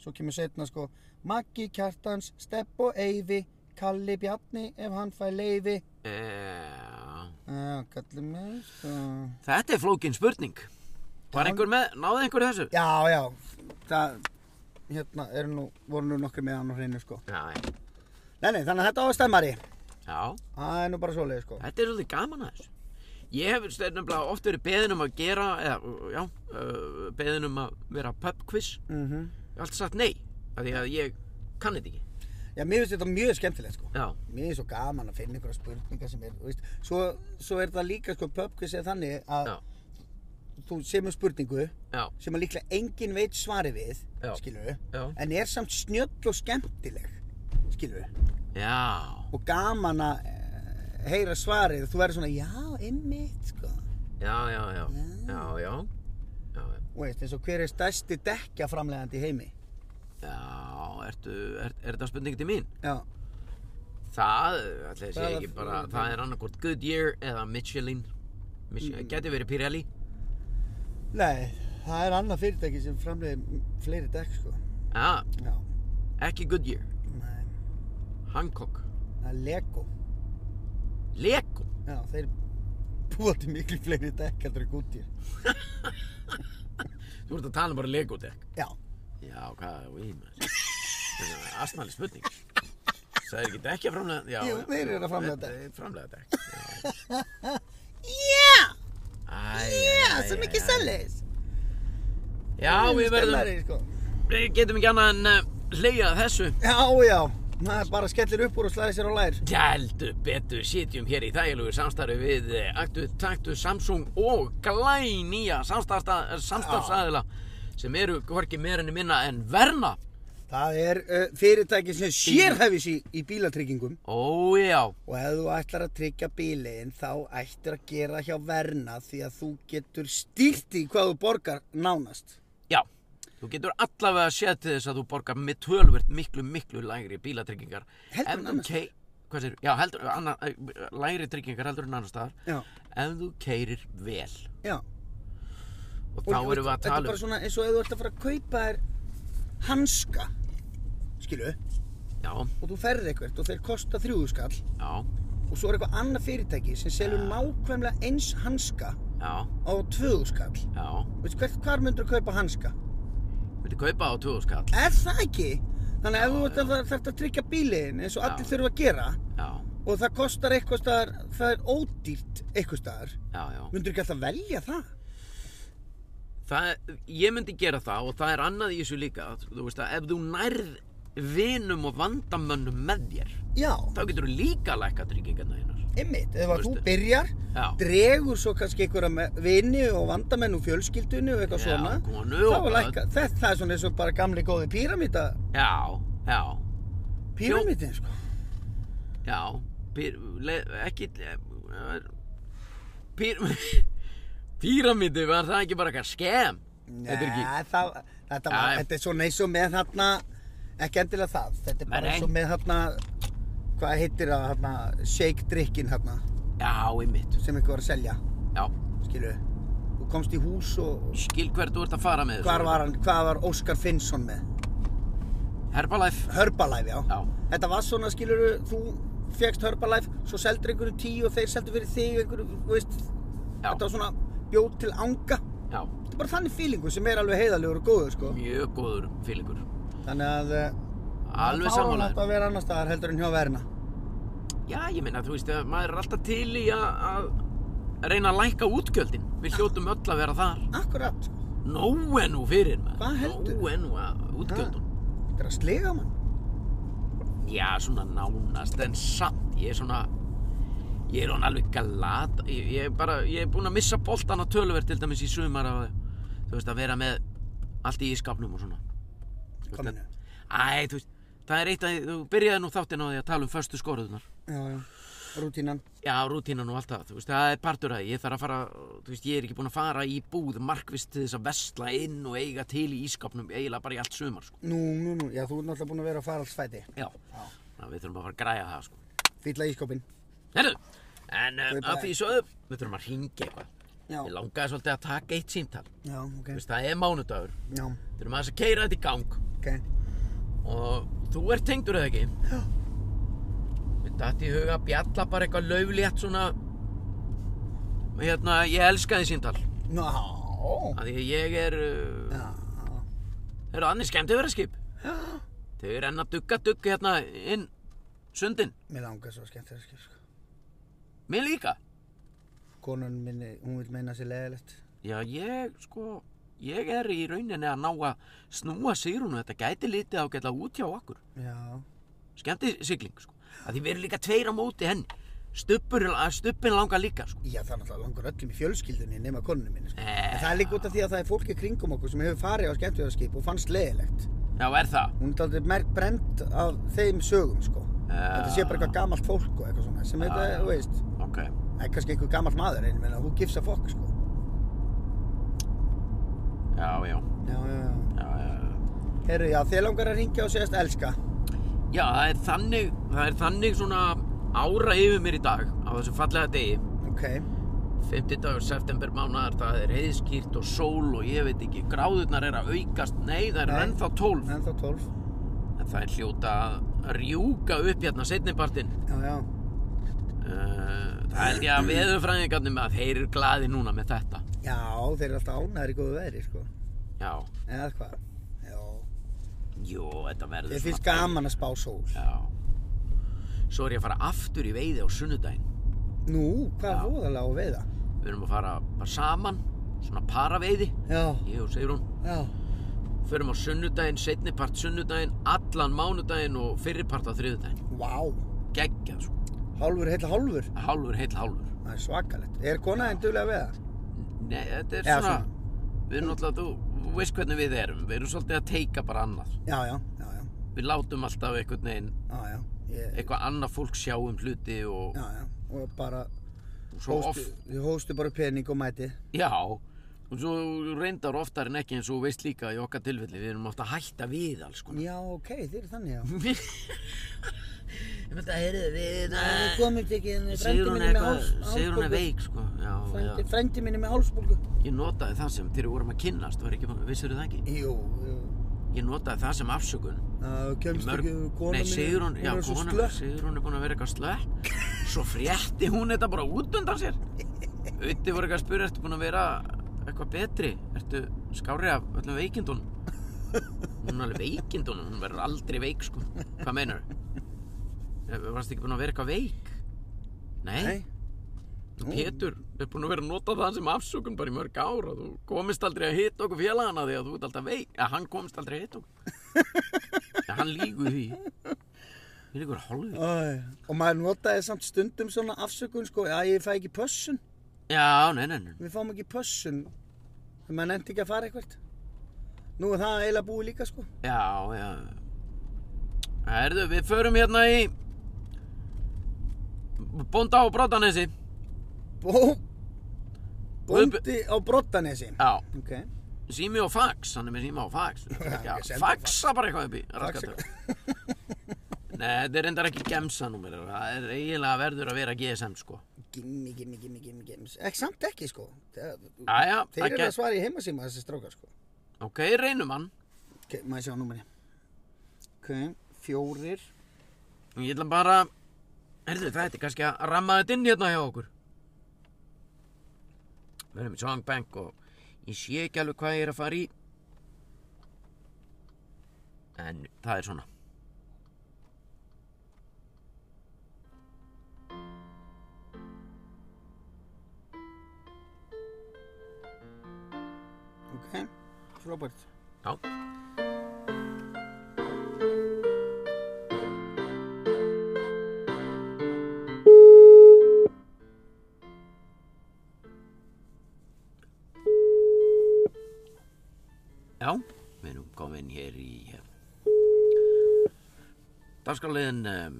B: Svo kemur setna sko Maggi Kjartans, Stepp og Eyvi, Kalli Bjarni ef hann fær leifi.
A: já
B: Já, kalli mig sko.
A: Þetta er flókin spurning. Var einhver með, náði einhver þessu?
B: Já, já, það, hérna, eru nú, voru nú nokkur með hann á hreinu sko.
A: Já, já.
B: Nei, nei, þannig að þetta á að stemmari.
A: já,
B: Það er nú bara svoleið sko.
A: þetta er svolítið gaman að þessu. Ég hef st- nefnilega oft verið beðin um að gera, eða, já, uh, beðin um að vera pub quiz.
B: Mm
A: Ég hef alltaf sagt nei, af því að ég kann þetta ekki.
B: Já, mér finnst þetta mjög skemmtilegt sko.
A: Já,
B: Mér finnst svo gaman að finna einhverja spurningar sem er, þú veist, svo, svo er það líka sko pubquiz eða þannig að
A: já,
B: þú semur spurningu
A: já,
B: sem að líklega enginn veit svari við,
A: Já.
B: skilur við,
A: já,
B: en er samt snjöll og skemmtileg, skilur við,
A: já,
B: og gaman að eh, heyra svarið, þú verður svona, já, einmitt, sko.
A: já, já, já,
B: Já.
A: já, já, já, já.
B: Þú veist, eins og hver er stærsti dekkjaframlegandi í heimi?
A: Já, ertu, er, er þetta spurning til mín?
B: Já,
A: Það, ætli ég sé
B: Bara-
A: ekki bara, það er annarkvort Goodyear eða Michelin. Michelin, geti verið Pirelli.
B: nei, það er annað fyrirtæki sem framlegir fleiri dekk, sko.
A: Já,
B: Já,
A: ekki Goodyear,
B: nei,
A: Hancock,
B: það er Lego.
A: Lego.
B: Já, þeir búa til miklu fleiri dekk heldur en gúttir.
A: Þú ert að tala um bara Lego dekk.
B: Já,
A: Já, hvað, við maður. Þetta er asnali spurning. Það er ekki dekkja framlega, já.
B: Jú,
A: já,
B: þeir eru að
A: já,
B: framleiða
A: þeir-
B: dekk.
A: þeir Framlega dekk. Já,
B: já,
A: Æ,
B: já,
A: æ,
B: svo
A: æ,
B: mikið
A: æ.
B: sellis.
A: Já, við verðum,
B: Sko.
A: við getum ekki annað en uh, hleyjað þessu.
B: Já, já, maður bara skellir upp úr og slæðir sér á lær.
A: Gældu betur sitjum hér í þægilegu samstarfi við eh, Aktu, Taktu, Samsung og glænýja samstarfsta- samstarfsaðila sem eru hvorki meira enn minna en verna.
B: Það er uh, fyrirtæki sem sérhæfis í, í bílatryggingum
A: Ó já,
B: og ef þú ætlar að tryggja bílinn þá ættir að gera hjá verna því að þú getur stýrt í hvað þú borgar nánast.
A: já. Þú getur allavega séð til þess að þú borgar með tölvert miklu, miklu lægri bílatryggingar.
B: Heldur
A: Ef
B: en
A: þú
B: annars
A: kei- Hvað sér? Já, heldur, anna, eh, lægri tryggingar heldur en annars staðar.
B: Já,
A: Ef þú keirir vel.
B: já.
A: Og þá erum við að
B: Þetta er
A: tala
B: bara
A: um...
B: svona eins og ef þú ætlar að fara að kaupa þér hanska, skilu,
A: Já,
B: og þú ferð eitthvað og þeir kosta þrjúðu skall
A: já,
B: og svo er eitthvað annað fyrirtæki sem selur nákvæmlega eins hanska
A: já,
B: á tvöðu skall.
A: já.
B: Veistu hvert hvar myndur að kaupa hanska?
A: Viltu kaupa á 2000 kall?
B: Er það ekki? Þannig að ef þú ert að- þarft að tryggja bílinn eins og allir
A: Já.
B: þurfa að gera
A: Já,
B: og það kostar eitthvað staðar, það er ódýrt eitthvað staðar,
A: já, já.
B: myndur ekki alltaf velja það?
A: það, ég myndi gera það og það er annað í þessu líka þú veist að ef þú nærð vinum og vandamönnum með þér
B: Já,
A: þá getur þú líka lækka tryggingarna þínar
B: einmitt, ef að
A: Þú
B: þú
A: veist-
B: byrjar,
A: Já.
B: dregur svo kannski einhverja me- vini og vandamenn úr fjölskyldunni og eitthvað
A: Já,
B: svona,
A: konu
B: þá
A: og
B: er
A: börn.
B: lækka, þetta það er svona eins og bara gamli góði píramíta,
A: já, já,
B: píramítin sko.
A: já pyr, le, ekki eh, pyr, píramíti var það ekki bara eitthvað skem þetta er ekki
B: Nei, það, þetta, var,
A: Æ.
B: þetta er svona eins og með þarna, ekki endilega það, þetta er
A: Nei,
B: bara
A: nei.
B: eins og með þarna, hvað heitir það, þarna, shake drikkin þarna,
A: já, einmitt,
B: sem ykkur var að selja,
A: já,
B: skilu. Þú komst í hús og
A: skil hvert þú ert að fara með þessu
B: hvað var hann, hvað var Óskar Finnsson með?
A: Herbalife,
B: Herbalife, já.
A: Já.
B: Þetta var svona, skilur, þú fegst Herbalife, svo seldur einhverju tíu og þeir seldur fyrir þig einhverju, þú veist,
A: já,
B: þetta var svona bjóð til anga.
A: já
B: Þetta er bara þannig fílingu sem er alveg heiðalegur og góður, sko.
A: mjög góður fílingur
B: Þannig að... eh,
A: alveg
B: Það fáránlegt
A: samanlega
B: að vera annar staðar heldur en hjá verna.
A: Já, ég meina, þú veist, að maður er alltaf til í að, að reyna að lækka útgjöldin. Við hljótum öll að vera þar.
B: Akkurat, sko.
A: Nóu ennú fyrir, maður.
B: Hvað heldur?
A: Nóu ennú að útgjöldun.
B: Þetta er að sliga mann.
A: Já, svona nánast, en samt. Ég er svona, ég er hann alveg galat. Ég, ég er bara, ég er búinn að missa boltana töluvert til dæmis í sumar að, þú veist, að vera með allt í ískapnum og svona. Þú veist,
B: Hvað meinaru?
A: Æ, þú veist, það er eitt að, þú byrjaði nú þáttinn á því að tala um föstu skoruðunar.
B: Já, já. Rútínan.
A: Já, rútínan og allt það, þú veist, það er partur að ég þarf að fara, þú veist, ég er ekki búinn að fara í búð markvist til þess að vesla inn og eiga til í ískapnum, eiginlega bara í allt sumar, sko.
B: Nú, nú, nú. Já, þú ert náttúrulega búin að vera að fara alls fæti.
A: Já. Þannig að við þurfum að fara að græja það, sko.
B: Fylla ískopin.
A: Herru, en uh,
B: Guð
A: að
B: bless.
A: því sögðu, við þurfum að ringa eitthvað.
B: Já.
A: Ég langaði svolítið að taka eitt síntal, þú
B: Já, ok.
A: veist, það er mánudagur,
B: Já,
A: þurfum aðeins að keira þetta í gang
B: ok.
A: og þú ert tengdur eða ekki?
B: Já.
A: Mér datt í huga að bjalla bara eitthvað lauflétt svona, hérna, ég elska því síntal,
B: Ná.
A: af því að ég er, uh,
B: Já.
A: Þeir eru annir skemmti að vera skip. Þau eru enn að dugga dugg hérna inn sundin.
B: Mér langar svo skemmt þér að skilja, sko.
A: Mér líka.
B: konun minni, hún vil meina sér leðilegt.
A: Já, ég, sko, ég er í rauninni að ná að snúa sigrunu. Þetta gæti litið ágætlega út hjá okkur.
B: Já,
A: Skemmti sigling, sko. Að því við erum líka tveir á móti henni. Stubbur, að stubbin langar líka, sko.
B: já það er náttúrulega langur öllum í fjölskyldunni nema konunum minni. Sko.
A: Eh.
B: En það er líka út af því að það er fólki kringum okkur sem hefur farið á skemmtverðarskip og fannst leðilegt.
A: Já, er það?
B: Hún er aldrei merk brend af þeim sögum sko.
A: Já.
B: Þetta sé bara eitthvað gamalt fólk og eitthvað svona sem þetta, þú veist,
A: Ok.
B: það er kannski eitthvað gamalt maður en ég meina, hún gifsa fokk sko.
A: Já, já,
B: Já, já, já.
A: já, já, já.
B: Herru, já, þið langar að ringja og segjast elska.
A: Já, það er þannig, það er þannig svona ára yfir mér í dag á þessu fallega degi.
B: Ok,
A: 50 dagur, september mánaðar, það er heiðskýrt og sól og ég veit ekki, gráðurnar er að aukast, nei það er
B: Nei.
A: ennþá 12.
B: en þá 12.
A: En það er hljóta að rjúka upp hérna setnipartinn.
B: Já, já.
A: Uh, það held ég að veðurfræðingarnir með að þeir eru glaði núna með þetta.
B: Já, þeir eru alltaf ánæður í góðu veðri sko.
A: Já,
B: Eða hvað? Já.
A: jú, þetta verður
B: Ég finnst gaman að spá sól.
A: Já. Svo er ég að fara aftur í veiði á sunnudaginn.
B: Nú, hvað er
A: Já.
B: voðalega á að veiða?
A: Við erum að fara bara saman, svona paraveiði,
B: Já,
A: ég og Sigrún.
B: já.
A: Förum á sunnudaginn, setnipart sunnudaginn, allan mánudaginn og fyrripart á þriðudaginn.
B: Vá.
A: Geggjað sko.
B: Hálfur, heila hálfur.
A: Hálfur, heill hálfur.
B: Það er svakalegt. Er kona þeim duðlega að veiða?
A: Nei, þetta er
B: Eða
A: svona, við erum náttúrulega, þú, þú veist hvernig við erum. Við erum svolítið að teika bara annað.
B: Já, já, já, já.
A: Við látum alltaf einhvern veginn,
B: Já, já. Ég,
A: eitthvað annað fólk sjá um hluti og
B: já, já. Og bara,
A: svo
B: hóstu,
A: oft,
B: ég hóstu bara pening og mæti.
A: já, og svo reyndar oftar en ekki eins og þú veist líka í okkar tilfelli, við erum ofta að hætta við alls konar.
B: Já, ok, þeir eru þannig, já.
A: Ég myndi að heyrðu við,
B: Við komumst ekki, en frendi
A: Sigrún
B: minni
A: er
B: með háls,
A: eitthvað, Sigrún er
B: hálsbólgu.
A: veik sko, já, já.
B: Frendi, frendi minni með hálsbólgu.
A: Ég notaði það sem, þegar við vorum að kynnast, var ekki, vissir það ekki?
B: Jú, jú.
A: Ég notaði það sem afsökun.
B: Það
A: Í
B: kemst ekki, kona
A: nei,
B: mín er-
A: Sigrún,
B: hún
A: já,
B: er svo
A: konan,
B: slöpp.
A: Sigrún er búin að vera eitthvað slökk. Svo frétti hún þetta bara út undan sér. Uti voru eitthvað að spyrja, ertu búin að vera eitthvað betri? Ertu skári af öllum veikindunum? Hún er alveg veikindunum, hún verður aldrei veik, sko. Hvað meinar? Varst ekki búin að vera eitthvað veik? Nei.
B: Nei.
A: Mm. Pétur er búin að vera að nota það sem afsökun bara í mörg ára. Þú komist aldrei að hitta okkur félagana því að þú ert alltaf veik. Já, hann komist aldrei að hitta okkur. Já, hann lígur því. Við líkur hálfið.
B: Æ, og maður notaði samt stundum svona afsökun sko, að ég fæ ekki pössun
A: Já, nei, nei, nei.
B: við fáum ekki pössun þegar maður nefndi ekki að fara eitthvað nú er það eiginlega búið líka sko
A: Já, já. Herðu, við förum hérna í Bónda á Brátanesi.
B: Bó, bóndi á Brottanesi
A: Já,
B: ok,
A: sími og fax. Hann er með síma og fax. Já,
B: ég sendi
A: faxa bara eitthvað upp í.
B: Faxa
A: raskatöku. Nei, þetta er reyndar ekki gemsanúmer. Það er eiginlega verður að vera GSM, sko.
B: gimmi, gimmi, gimmi, gimmi, gimmi ekki samt ekki sko Það-
A: Æja,
B: þeir eru að svara í heimasíma þessi strókar sko
A: Ok, reynum hann.
B: ok, maður sjá númeri ok, fjórir
A: Ég ætla bara... Herðu, það er kannski að ramma þetta inn hérna hjá okkur. Við erum í Songbank og ég sé ekki alveg hvað ég er að fara í. En það er svona.
B: ok, frábært
A: Já. Já, við erum komin hér í dagskáliðin um,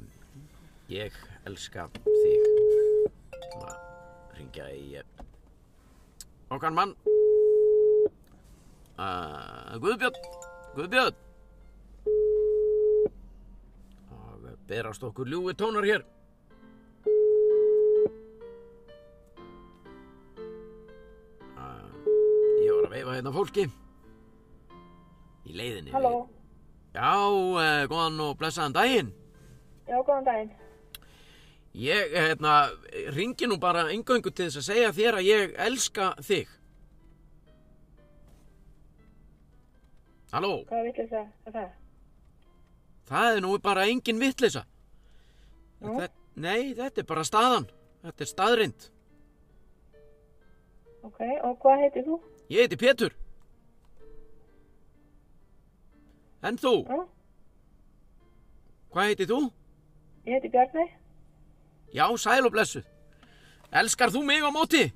A: Ég elska þig Svona, ringja í eh, okkar mann uh, Guðbjörn Guðbjörn og berast okkur ljúi tónar hér uh, ég var að veifa hérna fólki í leiðinni
C: Halló,
A: já, uh, góðan og blessaðan daginn
C: já, góðan daginn.
A: ég, hérna, ringi nú bara engöngu til þess að segja þér að ég elska þig Halló
C: Hvað vitleis að það?
A: Það er nú bara engin vitleysa.
C: Nú?
A: Þe- Nei, þetta er bara staðan. Þetta er staðrind.
C: ok, og hvað heitir þú?
A: Ég heiti Pétur. En þú?
C: Já,
A: Hvað heitir þú?
C: ég heiti Bjarni.
A: Já, sæl og blessuð. Elskar þú mig á móti?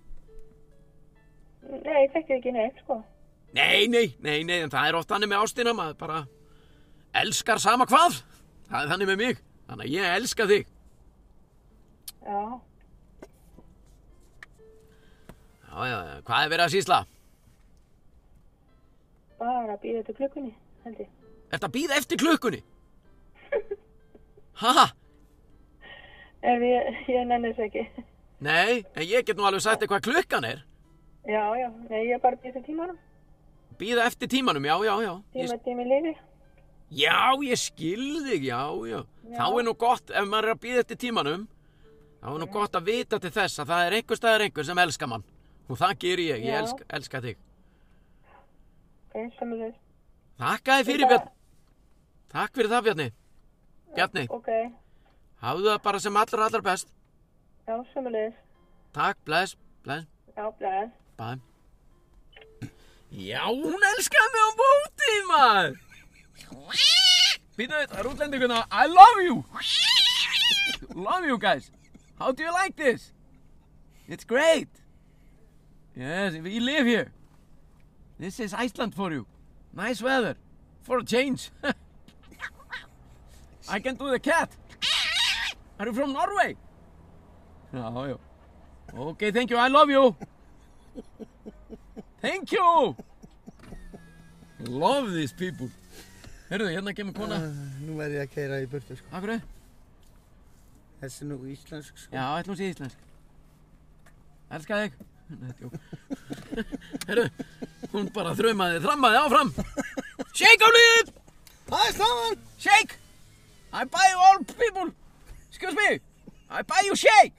C: Nei, ég þekki ekki neitt, sko.
A: Nei, nei, nei, nei, en það er oft hannig með ástina, maður bara elskar sama hvað. Það er þannig með mig. Þannig að ég elska þig.
C: Já,
A: Já, já, já, hvað er verið að sýsla?
C: bara býða til klukkunni, held ég.
A: Ertu að býða eftir klukkunni? Haha,
C: Ef ég, ég nenni þess ekki.
A: nei, en ég get nú alveg sagt þér hvað klukkan er.
C: Já, já, nei, ég bara býða til tímanum.
A: Býða eftir tímanum, já, já, já. Ég,
C: Tíma, tími lífi.
A: já, ég skil þig, já, já, Þá er nú gott, ef maður er að býða eftir tímanum, þá er nú gott að vita til þess að það er einhver staðar einhver sem elskar mann. Og það ger ég, ég
C: Já.
A: elska, elska þig.
C: Ok, samanlega.
A: Þakka þið fyrir, Bjarni. Takk fyrir það, Bjarni. Bjarni,
C: Ok,
A: hafðu það bara sem allra, allra best.
C: já, samanlega.
A: Takk, bless, bless.
C: Já, blæð.
A: Bæm. Já, hún elskaði mig á bóti, maður. Býta við, það er útlendinguna. I love you. Love you, guys. How do you like this? It's great. Yes, we live here. This is Iceland for you. Nice weather. For a change. I can do the cat. Are you from Norway? Já, já. Okay, thank you. I love you. Thank you Love these people Herðu, hérna kemur kona
B: Nú verð ég að keira í burtu sko.
A: Akkur er?
B: Þessi er nú íslensk sko.
A: Já, ætlum sé íslensk Elska þig Nei, djók. Herðu, hún bara þraumaði, þrammaði áfram Shake á liðið
B: Það er saman!
A: Shake I buy you all people Excuse me I buy you shake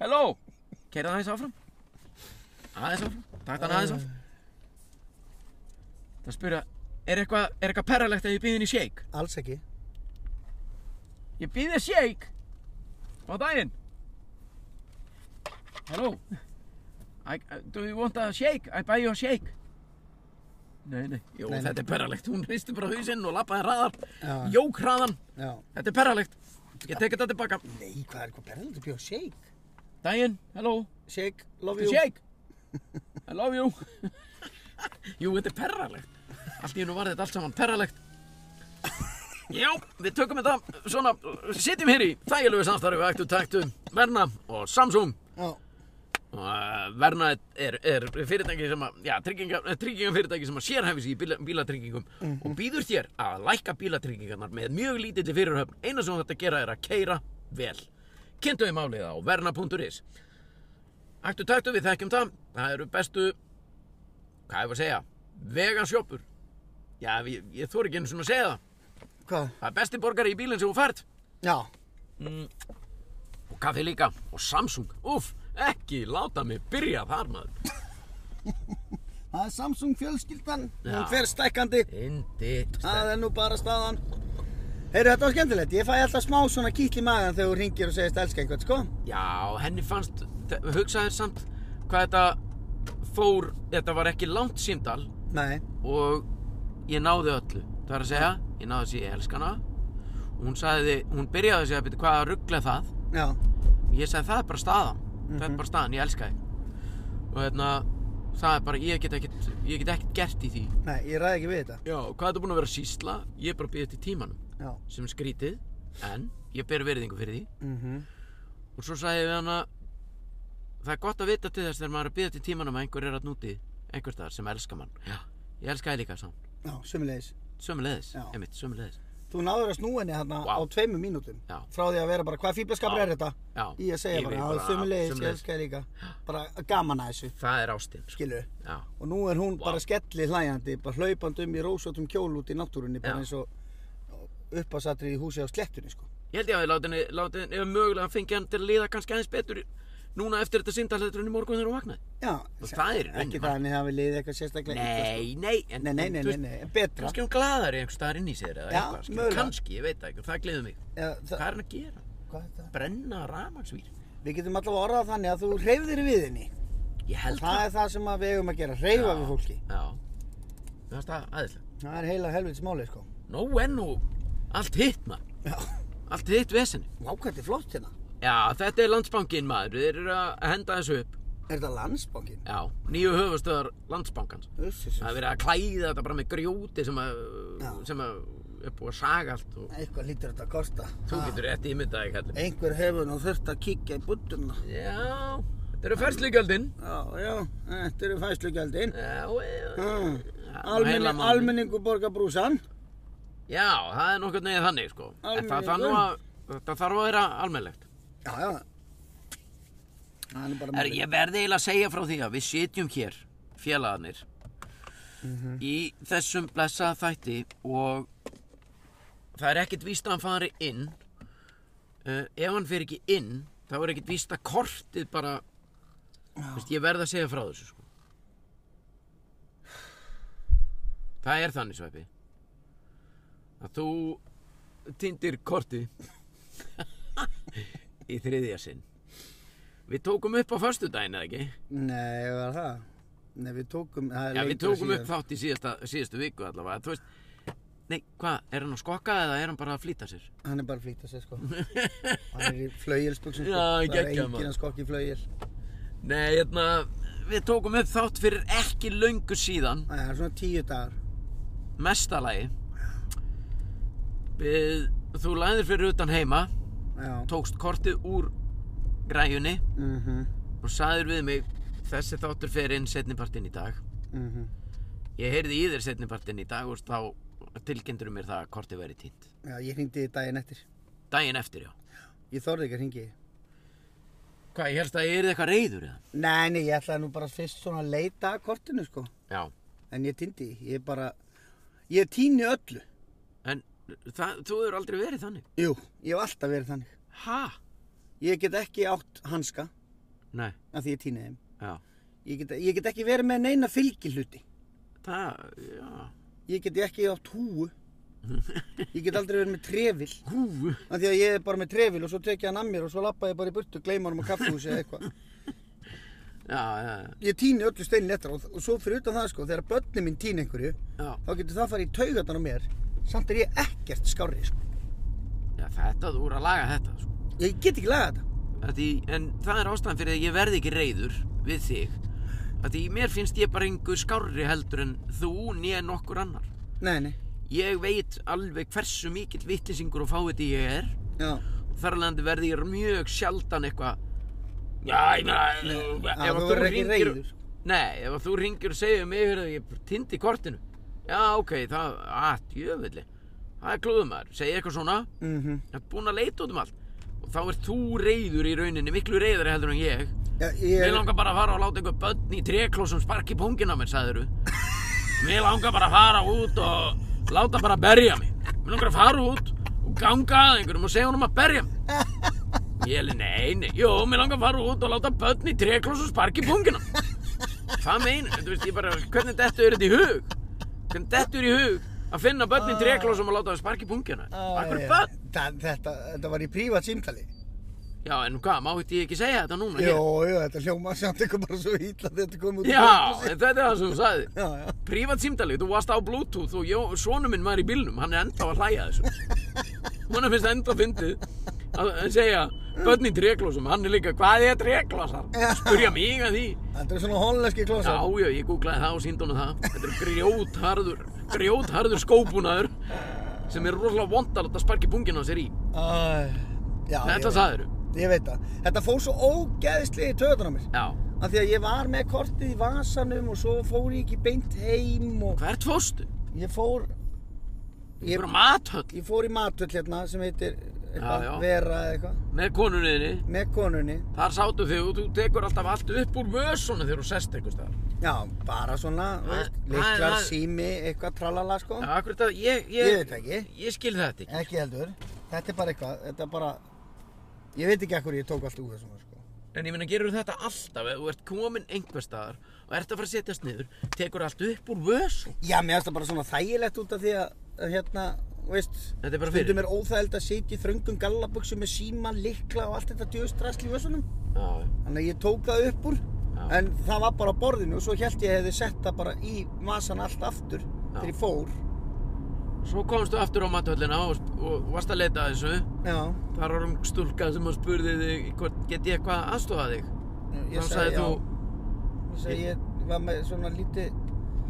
A: Hello Keirðu aðeins áfram Aðeins áfram Takk þannig aðeins áfram Það spyrja Er eitthvað Er eitthvað perralegt að ég býði henni shake
B: Alls ekki.
A: Ég býði þér shake Á daginn Hello I, uh, Do you want a shake? I buy you a shake Nei, nei, jó,
B: Nei, nei.
A: þetta er perralegt Hún hristi bara hausinn og lappaði hraðar
B: Já.
A: Jók hraðan
B: Já.
A: Þetta er perralegt. Ég tek þetta tilbaka.
B: Nei, hvað er hvað berðið að bjóða? Shake?
A: Dæin, hello,
B: Shake, love
A: the
B: you.
A: shake. I love you. Jú, þetta er perralegt. Allt í hennu var þetta allt saman perralegt. Já, við tökum þetta svona, sittum hér í þægilegu samstarfi við ættu taktum Verna og Samsung.
B: Já.
A: Og uh, Verna er, er fyrirtæki sem að, já, tryggingum fyrirtæki sem að sérhæfis í bíla, bílatryggingum og býður þér að lækka bílatryggingarnar með mjög lítilli fyrirhöfn. Eina sem þetta gera er að keira vel. Kynntu þið málið á verna.is. Ættu taktu við þekkjum það. Það eru bestu, hvað hefur að segja, vegansjópur. Já, ég, ég þor ekki einu svona að segja það.
B: Hvað?
A: Það er besti borgari í bílinn sem þú fært
B: Já.
A: og kaffi líka og Samsung. Úff, ekki láta mig byrja þar maður.
B: Það er Samsung fjölskyldan.
A: Já.
B: Hún fer stækkandi.
A: Indi
B: Það er nú bara staðan. Heyrðu, þetta var skemmtilegt. Ég fæ alltaf smá svona kýtl í magan þegar þú ringir og segist elska einhvern, sko.
A: Já, henni fannst Hugsaðir samt hvað þetta fór Þetta var ekki langt símdal
B: Nei.
A: Og ég náði öllu Það er að segja, ég náði þessi ég elska hana Og hún sagði, hún byrjaði að segja "Bíddu, Hvað að ruggla það?
B: Já.
A: Ég sagði, það er bara staðan Það er bara staðan, ég elska þig Og hérna, það er bara, ég get ekkert Ég get ekkert gert í því
B: Nei, ég ræði ekki við þetta.
A: Já, hvað er þetta búin að vera að sýsla? Ég er bara að býða til tímanum
B: Já.
A: Sem er skrítið, en ég ber veriðingu fyrir því
B: Mm
A: og svo sagði ég við hana það er gott að vita til þess þegar maður er að bíða til tímanum að einhver er að núti einhver staðar sem elskar mann já, ég elska þig líka sá
B: Já, sömulegis.
A: sömulegðis,
B: Já.
A: einmitt, sömulegðis
B: Þú náður að snúa henni hérna
A: Vá.
B: á tveimur mínútum.
A: Já.
B: Frá því að vera bara, hvað fýblaskapur
A: Já.
B: er þetta?
A: já,
B: Í að segja
A: veit
B: bara, já, sömulegis, ég
A: sömuleiðis.
B: elska þig líka. Bara gaman að þessu,
A: það er ástin, sko.
B: skilu.
A: já,
B: Og nú er hún
A: Vá.
B: bara skelli hlæjandi, bara hlaupandi um í rósótum kjól út í náttúrunni, bara
A: Já.
B: eins og uppásatri í húsi á slettunni, sko.
A: ég held ég að við láti henni, láti henni ef mögulega fengi hann til að líða kannski aðeins betur núna eftir þetta síndalegðurinn í morgun þegar hún vaknaði
B: Já,
A: Og það er í rauninni
B: ekki þannig að við liðið eitthvað sérstaklega illa,
A: nei, nei, en,
B: sko. Nei, nei,
A: en,
B: nei,
A: þú
B: nei,
A: veist,
B: nei, en betra.
A: kannski hún glaðar í einhver staðar inn í sér eða
B: Já,
A: eitthvað, skilur,
B: mögulega.
A: kannski, ég veit það ekki, það gleður mig
B: Eða,
A: hvað
B: það,
A: er hann að gera,
B: hvað er það?
A: brenna ramagsvír
B: Við getum allavega orðað þannig að þú hreyfðir við henni.
A: Ég held
B: Það er það sem að við eigum að gera, hreyfa
A: Já.
B: við fólki.
A: Já. Mér finnst það aðeinslega.
B: Það er heila helvits máli, sko.
A: Nó en nú, allt hitt maður.
B: Já.
A: Allt hitt vesenni.
B: Vákvæmt er flott hérna.
A: Já, þetta er landsbankin maður. Þeir eru að henda þessu upp.
B: Er þetta landsbankin?
A: Já, nýju höfustöðar landsbankans.
B: Uss,
A: Það
B: uss,
A: er
B: uss.
A: verið að klæða þetta bara með grjóti sem að,
B: Já.
A: sem að er búið að saga allt og
B: Eitthvað lítur þetta að kosta.
A: þú
B: Ha,
A: getur rétt ímyndað ekki allir.
B: Einhver hefur nú þurft að kíkja í budduna.
A: Já, þetta eru ferslugjöldin.
B: Já, já, þetta eru fæslugjaldin.
A: Já, já.
B: Mm.
A: heila
B: Almenning,
A: mánuð.
B: almenningu borgar brúsan.
A: já, það er nokkur negið þannig sko. En það þarf nú að, þetta þarf að vera almennlegt.
B: Já, já. Það er nú bara
A: Er,
B: málið.
A: ég verði eiginlega að segja frá því að við sitjum hér, félagarnir, í þessum blessaða þætti og það er ekkert víst að hann fari inn. Uh, ef hann fer ekki inn, þá er ekkert víst að kortið bara, veist, ég verð að segja frá þessu sko. Það er þannig, Sveppi, að þú týndir kortið í þriðja sinn. Við tókum upp á föstudaginn, eða ekki?
B: Nei, var það? Nei, við tókum, það er
A: Já, við
B: lengra
A: tókum
B: síðan.
A: upp þátt í síðasta, síðastu viku allavega. Þú veist, nei, hvað, er hann að skokka eða er hann bara að flýta sér?
B: Hann er bara að flýta sér, sko. Hann er í flauilsbuksum, sko.
A: Já,
B: Það er
A: geggjað, maður.
B: enginn að skokki í flauil.
A: Nei, hérna, við tókum upp þátt fyrir ekki löngu síðan,
B: Æ, Það er svona tíu dagar.
A: mestalagi. Við, þú læðir fyrir utan heima,
B: Já.
A: tókst kortið úr græjunni
B: Mhm,
A: og sagðir við mig, þessi þáttur fer inn setnipartinn í dag.
B: mhm.
A: Ég heyrði í þér setnipartinn í dag og þá tilkynntur mér það að kortið væri týnt.
B: Já, ég hringdi í daginn eftir.
A: Daginn eftir, já.
B: Ég þorði ekki að hringi.
A: Hvað, ég helst að ég er eitthvað reyður eða?
B: Nei, nei, ég ætlaði nú bara fyrst svona að leita að kortinu, sko.
A: Já.
B: En ég týndi, því. ég bara, ég týni öllu.
A: En það, þú hefur aldrei verið þannig.
B: Jú, ég hef alltaf verið þannig.
A: Ha?
B: Ég get ekki átt hanska
A: Nei,
B: af því ég týni þeim.
A: já.
B: Ég get, ég get ekki verið með neina fylgihluti.
A: Það, já.
B: Ég get ekki átt húu. Ég get aldrei verið með trefil.
A: Hú.
B: Af því að ég er bara með trefil og svo tek ég hann að mér og svo lappa ég bara í burtu, gleyma hann á kaffehúsi eða eitthvað.
A: Já, já, já.
B: Ég týni öllu steinin eftir og, og svo fyrir utan það sko, þegar börnin mín týni einhverju,
A: já.
B: þá getur það farið í taugarnar á mér. Samt er ég ekkert skárri sko.
A: Já, þetta, þú voru að laga þetta, sko.
B: Ég get ekki lagað þetta.
A: Af Því, en það er ástæðan fyrir að ég verði ekki reyður við þig. Af Því mér finnst ég bara einhver skárri heldur en þú nýja nokkur annar.
B: Nei, nei.
A: Ég veit alveg hversu mikill vittlisingur og fáviti ég er.
B: Já.
A: Þar alveg verði ég mjög sjaldan eitthvað. Já, ég meina, ef
B: Já,
A: að
B: þú verður ekki
A: hringir-
B: reiður.
A: Nei, ef að þú ringir og segir mig fyrir að ég tindi kortinu. Já, ok, það, að, jöfnvelli. Það er klúðum maður, segi eitthvað svona,
B: Mm
A: ég er búinn að leita út um allt. Og þá er þú reyður í rauninni, miklu reyðari heldur en ég.
B: Já,
A: Mér
B: ég,
A: langar bara að fara og láta einhver börn í treklósum sparki pungin á mér, sagðiru. Mér langar bara að fara út og láta bara að berja mig. Mér langar að fara út og ganga að einhverjum og segja honum að berja mig. Ég heli, nei, nei, jú, mér langar að fara út og láta börn í treklósum sparki pungin á mér. Hvað meina, þú veist, ég bara, hvernig dettu er þetta í hug? Hvernig dettu er í hug að finna börn í treklósum og láta þau sparki pungin á mér?
B: Æ,
A: Akkur er börn?
B: það- Þetta, þetta var í prívat símtali.
A: Já, en hvað, má hitt ég ekki segja þetta núna?
B: Jó, jú, þetta hljóma samt eitthvað bara svo ítla þetta kom út. úr
A: Já,
B: Prívat símtali.
A: en þetta er það sem þú sagði.
B: Já, já.
A: Prívat símtali, þú varst á Bluetooth og ég, sonu minn var í bílnum, hann er enda að hlæja þessu. Hún finnst enda fyndið að að segja, börn í treglósum, hann er líka, hvað er treglósar? Spurja mig að því.
B: Þetta er svona hollenski
A: Já,
B: klósar.
A: já, ég googlaði það og síndi honum það. Þetta er grjótharður, grjótharður skópunaður sem er rosalega vond að láta sparki pungin á sér í.
B: Æ, já, ég
A: Þetta
B: veit-
A: sagðiru.
B: Ég veit það. Þetta fór svo ógeðislega í töðunar mér.
A: Já.
B: Af því að ég var með kortið í vasanum og svo fór ég ekki beint heim og
A: Hvert fóstu?
B: ég fór...
A: Ég
B: Ég,
A: voru mathöll
B: ég fór í matöll hérna sem heitir eitthvað,
A: Já, já.
B: vera eða eitthvað,
A: með konunniðinni.
B: með konunni.
A: Þar sátu þig og þú tekur alltaf allt upp úr vössunum þegar þú sest einhvers staðar.
B: Já, bara svona, þú veist,
A: Æ,
B: liklar,
A: æ, æ.
B: sími, eitthvað, tralala, sko.
A: Já, akkur þetta, ég, ég,
B: Ég veit ekki.
A: Ég skil þetta ekki.
B: Ekki heldur. Þetta er bara eitthvað, þetta er bara... Ég veit ekki ekkur ég tók allt úr þessum, sko.
A: En ég meina, gerur þetta alltaf, ef þú ert komin einhver staðar og ert að fara að setjast niður, tekur allt upp úr vössum.
B: Já, mér finnst það bara svona þægilegt út af því að, að hérna, veist,
A: Þetta er bara fyrir.
B: stundum er óþægild að sitja í þröngum gallabuxum með síma, likla og allt þetta djöðstrasl í vössunum.
A: já,
B: Þannig að ég tók það upp úr,
A: Já.
B: en það var bara á borðinu og svo held ég hefði sett það bara í vasan allt aftur þegar ég fór.
A: Svo komstu aftur á matvöllina og, og varst að leita að þessu.
B: Já,
A: Þar var um stúlka sem að spurði þig, hvort get ég eitthvað að aðstofa þig?
B: ég
A: Þá
B: sagði
A: sagði
B: já.
A: þú,
B: Ég sagði ég var með svona lítið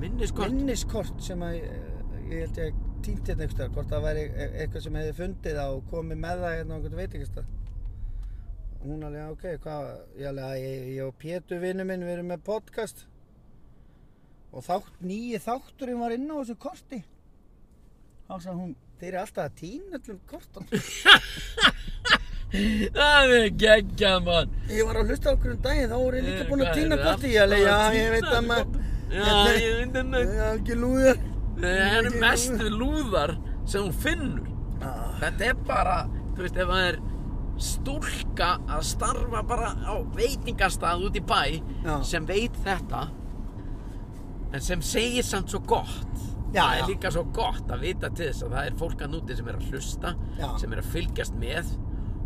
A: minniskort.
B: minniskort sem að eh, ég held ég týndi hérna einhverstað, hvort það væri e- eitthvað sem hefði fundið það og komið með það hérna á einhvern veitingastað. Og Hún alveg, "Já, ok, hvað, ég alveg að ég, ég og Pétur vinnu minn, við erum með podcast og þátt, nýji þátturinn var inn á þessu korti. Þá sagði hún, þeir eru alltaf að týna öllum kortan.
A: Það er geggjað mann.
B: Ég var að hlusta á okkur um daginn, þá voru ég líka búin
A: Eh,
B: að
A: Hvað
B: týna
A: eru
B: korti.
A: alltaf
B: Ég alveg,
A: að
B: já, ég
A: týna
B: veit að
A: öllum
B: maður,
A: Já, ég veit að með,
B: ég er ekki lúðar.
A: það eru mestu lúðar sem hún finnur.
B: Ah.
A: Þetta er bara, þú veist, ef það er stúlka að starfa bara á veitingastað út í bæ
B: Já.
A: sem veit þetta en sem segir samt svo gott það
B: Já, já.
A: er líka svo gott að vita til þess að það er fólk að núti sem er að hlusta
B: Já.
A: sem er að fylgjast með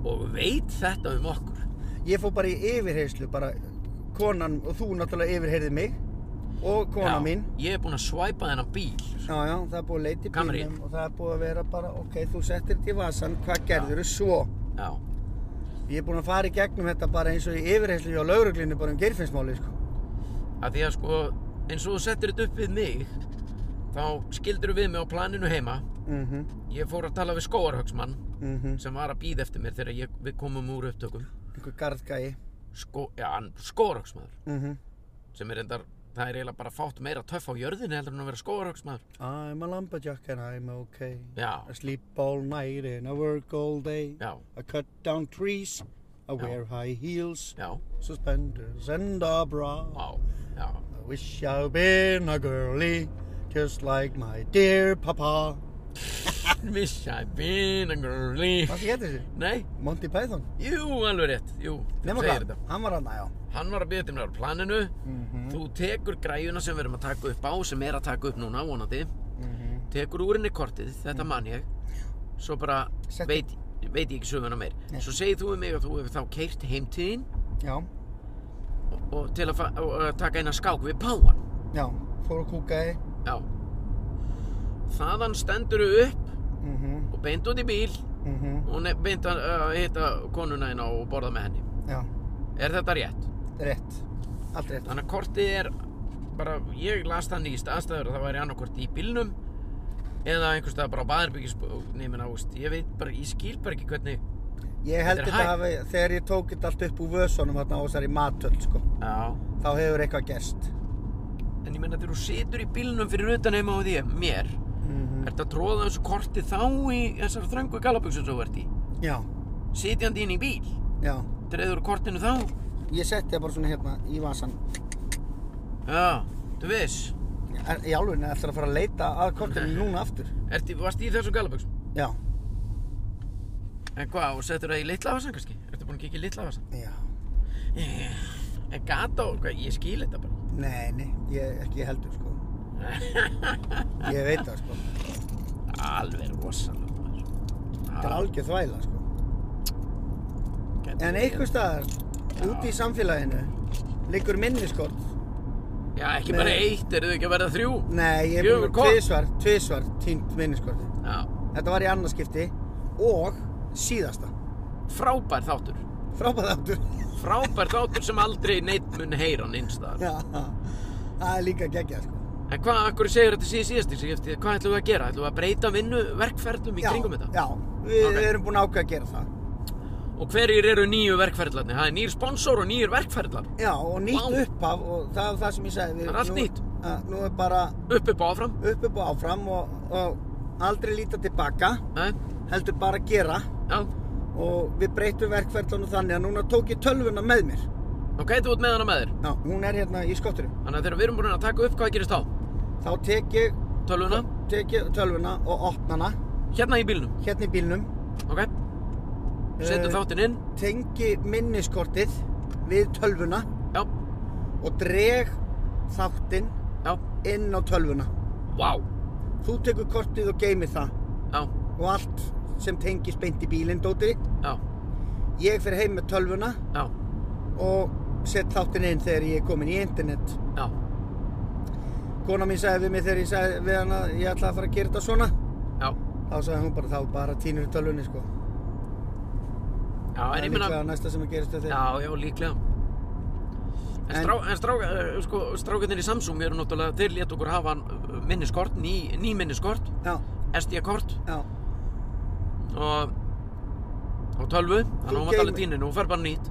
A: og veit þetta um okkur
B: Ég fór bara í yfirheyrslu, bara konan og þú náttúrulega yfirheyrði mig og kona
A: Já,
B: mín.
A: Ég er búinn að svæpa þennan bíl
B: Já, já, það er búið að leita í
A: Camry.
B: bílnum og það er búið að vera bara, ok, þú settir þetta í vasan, hvað gerður þú svo?
A: Já,
B: Ég er búin að fara í gegnum þetta bara eins og í yfirheyrslu hjá lauruglinu bara um geirfinnsmáli, sko.
A: að því að sko eins og þú settir þetta upp við mig þá skildur við mig á planinu heima
B: Mhm, mhm.
A: Ég fór að tala við skóarhagsmann sem var að býða eftir mér þegar ég, við komum úr upptökum
B: Einhver garðgæi.
A: Skó, já, hann skóraksmaður
B: Mhm.
A: sem er endar, það er eiginlega bara fátt meira töff á jörðinni heldur en að vera skóraksmaður
B: I'm a lumberjack and I'm okay.
A: Já,
B: I sleep all night and I work all day.
A: já,
B: I cut down trees. I wear high heels,
A: já,
B: suspenders and a bra.
A: já, já
B: I wish I'd been a girly, just like my dear papa.
A: Wish I'd been a girlie
B: Hvað getur þessi?
A: Nei,
B: Monty Python?
A: jú, alveg rétt, jú, þú
B: Nefna
A: segir
B: hvað?
A: þetta Mhm,
B: Hann var hann, já.
A: Hann var að býða eftir mér á planinu
B: Mm.
A: Þú tekur græjuna sem við erum að taka upp á sem er að taka upp núna, vonandi tekur úr henni kortið, þetta man ég svo bara
B: Mm. Settu-
A: veit, veit ég ekki söguna meir
B: Nei.
A: svo segir þú við mig að þú hefur þá keirt heim til þín
B: Já,
A: og, og til að, fa- og, og taka eina skák við páan
B: já. Fór og kúkaði.
A: já þaðan stendur þú upp
B: Mhm,
A: og beint út í bíl
B: mhm,
A: og ne- beint að uh, hitta konuna hérna og borða með henni
B: já.
A: er þetta rétt?
B: Rétt. Allt rétt.
A: þannig að kortið er bara, ég las það nýst aðstæður að það væri annarkort í bílnum eða einhvers staðar bara á baðherbyggis nefnir ást, ég veit bara, ég skil bara ekki hvernig
B: Ég held
A: Þetta er
B: þetta
A: hægt.
B: hafi, þegar ég tók þetta allt upp úr vösunum hérna á þessari matöld, sko,
A: já
B: þá hefur eitthvað gerst.
A: En ég meina þegar þú situr í bílnum fyrir utan heima á því, mér,
B: Mhm.
A: ert að tróða þessu korti þá í þessar þröngu galaböksum sem þú ert í.
B: Já,
A: Sitjandi inn í bíl,
B: já.
A: dreður úr kortinu þá.
B: Ég setti það bara svona hérna í vasan.
A: Já, þú veist,
B: Er- Í álfunni ætlar að fara að leita að kortinu núna aftur.
A: ert, í- varst í þessum galaböksum.
B: Já.
A: En hvað, og settur það í litla vasan kannski? Ertu búin að kikið í litla vasan?
B: Já.
A: En gata og hvað, ég skil þetta bara.
B: Nei, nei, ég, ekki heldur sko Ég veit það sko
A: Alveg rosalega. maður.
B: Þetta er
A: Ah,
B: algjör þvæla sko
A: gæti
B: En
A: verið.
B: einhver staðar, úti í samfélaginu Liggur minniskort
A: Já, ekki bara
B: Nei.
A: eitt, eru þau ekki að verða þrjú?
B: Nei, ég er
A: Fjögur kort.
B: tvisvar, tvisvar týnt minniskorti
A: Já,
B: Þetta var í annarskipti og síðasta
A: frábær þáttur.
B: Frábæð áttur
A: Frábær þáttur sem aldrei neitt mun heyra hann einstæðar.
B: Já, það er líka geggjað sko
A: En hvað, akkur segir þetta síðan síðast í skiptið, hvað ætlum við að gera? Ætlum við að breyta vinnu, verkferlum í
B: Já,
A: kringum þetta?
B: Já, við
A: Ok.
B: erum búin að ákveða að gera það
A: Og hverjir eru nýju verkferlarnir? Það er nýr sponsor og nýjir verkferlar.
B: Já, og nýtt
A: Vá.
B: upphaf og það er það sem ég sagði við-
A: Það er allt
B: nú-
A: nýtt.
B: að- Nú er bara
A: Upp upp og áfram.
B: upp upp og áfram og, og aldrei líta tilbaka
A: Nei,
B: heldur bara að gera
A: já.
B: og við breytum verkferðlunum þannig að núna tók ég tölvuna með mér
A: Ok, þú ert með hana með þér.
B: Já, hún er hérna í skotturum
A: Þannig að þegar við erum búin að taka upp, hvað gerist þá?
B: þá tek ég,
A: Tölvuna?
B: tek ég tölvuna og opna hana
A: Hérna í bílnum.
B: hérna í bílnum
A: Ok? Setjum
B: Eh.
A: þáttinn inn.
B: tengi minniskortið við tölvuna
A: Já,
B: og dreg þáttinn
A: já.
B: inn á tölvuna
A: Vá.
B: þú tekur kortið og geymir það
A: Já,
B: og allt sem tengist beint í bílinn, Dóti.
A: já,
B: Ég fer heim með tölvuna
A: já,
B: og set þáttinn inn þegar ég er komin í internet.
A: já,
B: Kona mín sagði við mig þegar ég sagði við hana að ég ætlaði að fara að gera þetta svona.
A: já,
B: Þá sagði hún bara þá bara tínur í tölvunni, sko.
A: já, en ég
B: Það er
A: meina,
B: líklega næsta sem að gerist þetta.
A: já, já, líklega. En,
B: En-
A: strá, en strá, eh, sko, strákarnir í Samsung eru náttúrulega, þeir létt okkur hafa eh, minniskort, ný, ný minniskort,
B: Já,
A: SD-kort
B: já.
A: og, og tölvu, þannig að
B: Þú
A: hún var
B: geymir-
A: alveg tínin og fer bara nýtt.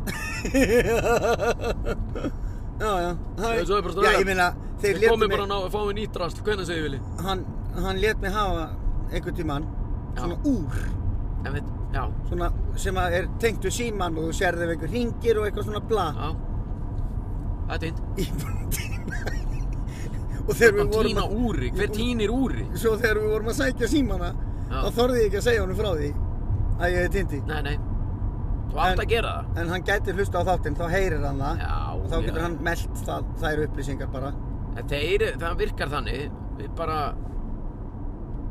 B: já, já. Hæ.
A: Nei, svo er bara
B: já,
A: strákar.
B: ég meina, þeir
A: Við
B: létu
A: komum
B: mig,
A: bara að ná að fáum við nýtt rast, hvernig segir Vili?
B: hann, hann lét mig hafa einhvern tímann,
A: Já.
B: svona úr.
A: En við, já,
B: svona sem að er tengt við síman og þú sérði ef einhver ringir og eitthvað svona bla
A: já, það er tínt.
B: í búin tíma og þegar
A: Að
B: við vorum
A: tína
B: að,
A: úri, hver tínir úri?
B: svo þegar við vorum að sækja símana
A: Já.
B: þá þorði ég ekki að segja honum frá því að ég hefði týndi
A: Nei, nei, þú átt
B: En-
A: að gera það.
B: en hann gæti hlusta á þáttinn, þá heyrir hann það
A: Já,
B: og þá
A: já.
B: getur hann meldt það, þær upplýsingar bara
A: En Þeir, það virkar þannig, við bara,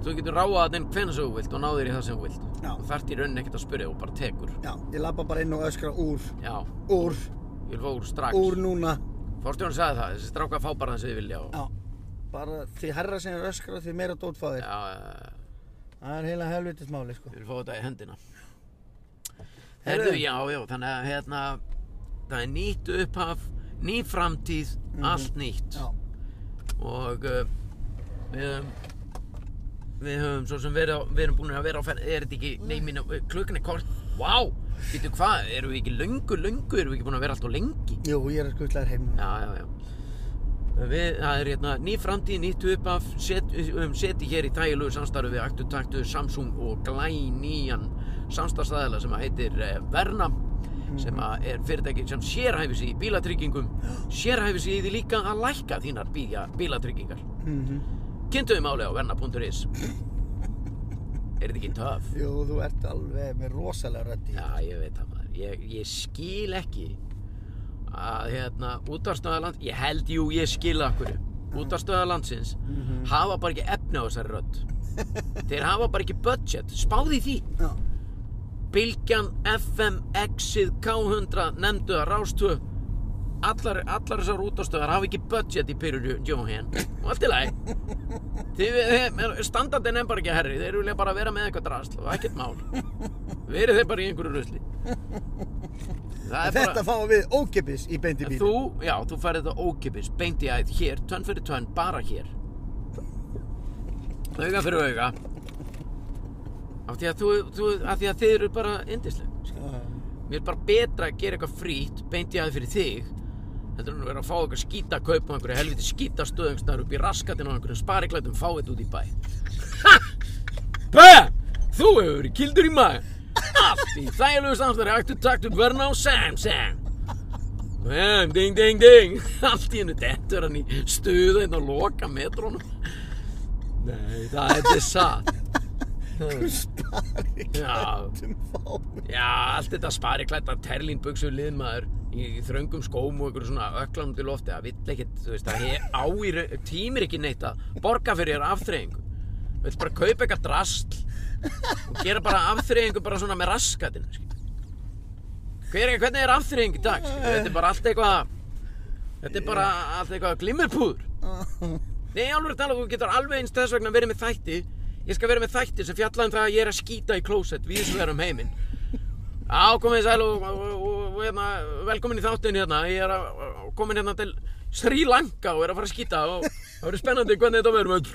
A: þú getur ráða þenn hvernig sem þú vilt og náðir í það sem þú vilt.
B: Já.
A: Þú þarft í rauninni ekkert að spyrja og bara tekur.
B: já, ég labba bara inn og öskra úr
A: Já,
B: úr,
A: ég vil fá úr strax.
B: úr núna
A: Forstjórn sagði það, þessi strákar fá bara það sem þið vilja og...
B: já, bara því herra sem er öskra því meira dótfáðir
A: Já, já,
B: það er heila helvitismáli sko
A: ég vil fá þetta í hendina. Herðu, já, já, þannig að hérna, það er nýtt upphaf, ný framtíð, allt nýtt.
B: já,
A: Og uh, við höfum, við höfum svo sem verið á, við erum búin að vera á ferð, er þetta ekki, nei, minna, klukkan er kort, vá, wow, veitu hvað, erum við ekki löngu, löngu, erum við ekki búin að vera alltaf lengi?
B: jú, ég er skuttlegar heim núna
A: Já, já, já. Við, það er hérna, ný framtíð, nýtt upphaf, set, við höfum setið hér í tægilegu samstarfi við Aktu Taktu, Samsung og Glæ nýjan samstarfstæðala sem að heitir eh, Verna sem að er fyrirtæki sem sérhæfir sig í bílatryggingum, sérhæfir sig í því líka að lækka þínar bíla, bílatryggingar.
B: mm
A: Kynntuðu máli á verna.is Er þetta ekki töf?
B: Jú, þú ert alveg með rosalega röddi.
A: Já, ég veit það maður Ég, ég skil ekki að hérna útarstöðaland Ég held jú, ég skil akkur Útarstöðalandsins hafa bara ekki efni á þessari rödd Þeir hafa bara ekki budget Spáði því
B: Já.
A: Bylgjan, FM, Exið, K100 Nefndu að rástu Allar, allar þessar útastöðar hafa ekki budget í Pyrrhu Johan og allt í lagi Þið- þið- standardin er bara ekki herri þeir vilja bara vera með eitthvað drasl og ekkert mál verið þeir bara í einhverju rusli það er
B: Þetta
A: bara
B: fáum við ókipis í beint í bíl.
A: þú, já, þú færði þetta ókipis beint í æð hér, tönn fyrir tönn, bara hér auga fyrir auga af því að, þú, þú, af því að þið eru bara yndisleg Mér er bara betra að gera eitthvað frýtt beint í aðeins fyrir þig heldur en að vera að fá eitthvað skýta að kaupa einhverju helviti skýta stöðungsnar upp í raskatinn á einhverjum spariklætum fá þetta út í bæ Ha! Bæ! Þú hefur verið kildur í maður Allt í þægilegu samstæri Aktu takt upp verna á Samsung Bæm, ding, ding, ding Allt í hennu dettur hann í stuða einn og loka metrónum Nei, það er þetta satt
B: Spari
A: Já
B: klættum fáum.
A: Já, allt þetta spari klæta terlínbuksu liðmaður í, í þröngum skóm og einhverju svona öklanum til lofti það vill ekkert, þú veist, það hef- á í ra- tímir ekki neitt að borga fyrir þér afþreyingu vill bara kaupa eitthvað drasl og gera bara afþreyingu bara svona með raskatinn skilur. Hver, hvernig er afþreying í dag skilur? þetta er bara allt eitthvað þetta er bara allt eitthvað glimmerpúður Nei, alveg tala, þú getur alveg eins þess vegna verið með þætti Ég skal verið með þætti sem fjalla um það að ég er að skýta í klósett Við sem erum heiminn Já, komið sæl og, og, og, og hérna, velkomin í þáttin hérna Ég er að, komin hérna til Sri Lanka og er að fara að skýta og það verður spennandi hvernig þetta verður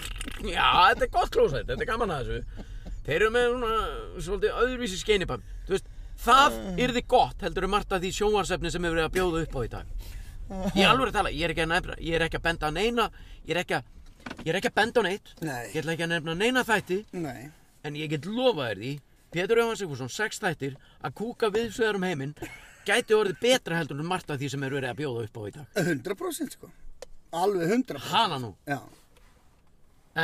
A: Já, þetta er gott klósett, þetta er gaman að þessu Þeir eru með svona, svolítið öðruvísi skeinipam Þú veist, það yrði gott heldur um margt af því sjónvarsefni sem hefur verið að bjóða upp á í dag Ég er alveg að tala, ég er ekki að nefna, ég er ekki að benda á neina, ég er ekki að, ég er ekki að benda á neitt,
B: Nei.
A: ég ætla ekki að nefna neina þætti,
B: Nei.
A: en ég get lofað þér því, Pétur Jóhann Sigfússon, sex þættir, að kúka við svegar um heiminn, gæti orðið betra heldur en margt af því sem er verið að bjóða upp á í dag.
B: 100% sko. Alveg 100%.
A: Hana nú.
B: Já.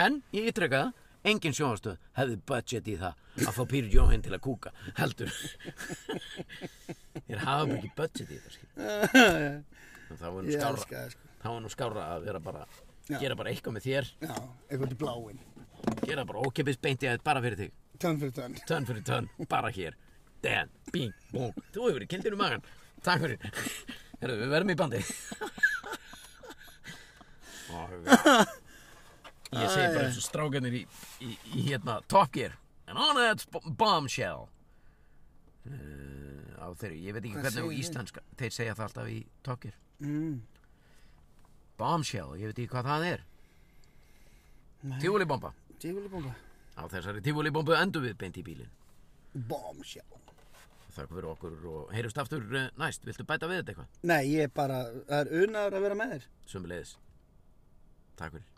A: En, ég ítreka það, engin sjónastöð hefði budget í það að fá Pétur Jóhann til að kúka, heldur. Þeir hafa bara ekki budget í það, skil. Þá er nú
B: Ég
A: skárra,
B: elska það sko.
A: þá er nú skárra að vera bara,
B: Já.
A: gera bara eitthvað með þér.
B: Já, eitthvað til bláinn.
A: gera bara ókipis beint í aðeins bara fyrir þig
B: tönn fyrir tönn.
A: tönn fyrir tönn, bara hér Dan, bing, bong, þú hefur verið kildur um magan Takk fyrir Herðu, við verðum í bandi Ó, Ég segi bara eins og strákanir í, í, í hérna Top Gear And on that b- bombshell uh, Á þeirri, ég veit ekki
B: Hvað
A: hvernig á
B: segir þið?
A: íslenska Þeir segja það alltaf í Top Gear
B: Mm.
A: Bombshell, ég veit ekki hvað það er Tífúlibomba
B: Tífúlibomba.
A: Á þessari tífúlibombu endum við beint í bílinn
B: Bombshell.
A: Takk fyrir okkur og heyrjumst aftur eh, næst. Viltu bæta við þetta eitthvað?
B: Nei, ég er bara, það er unaður að vera með þér.
A: Sumulegis. Takk fyrir.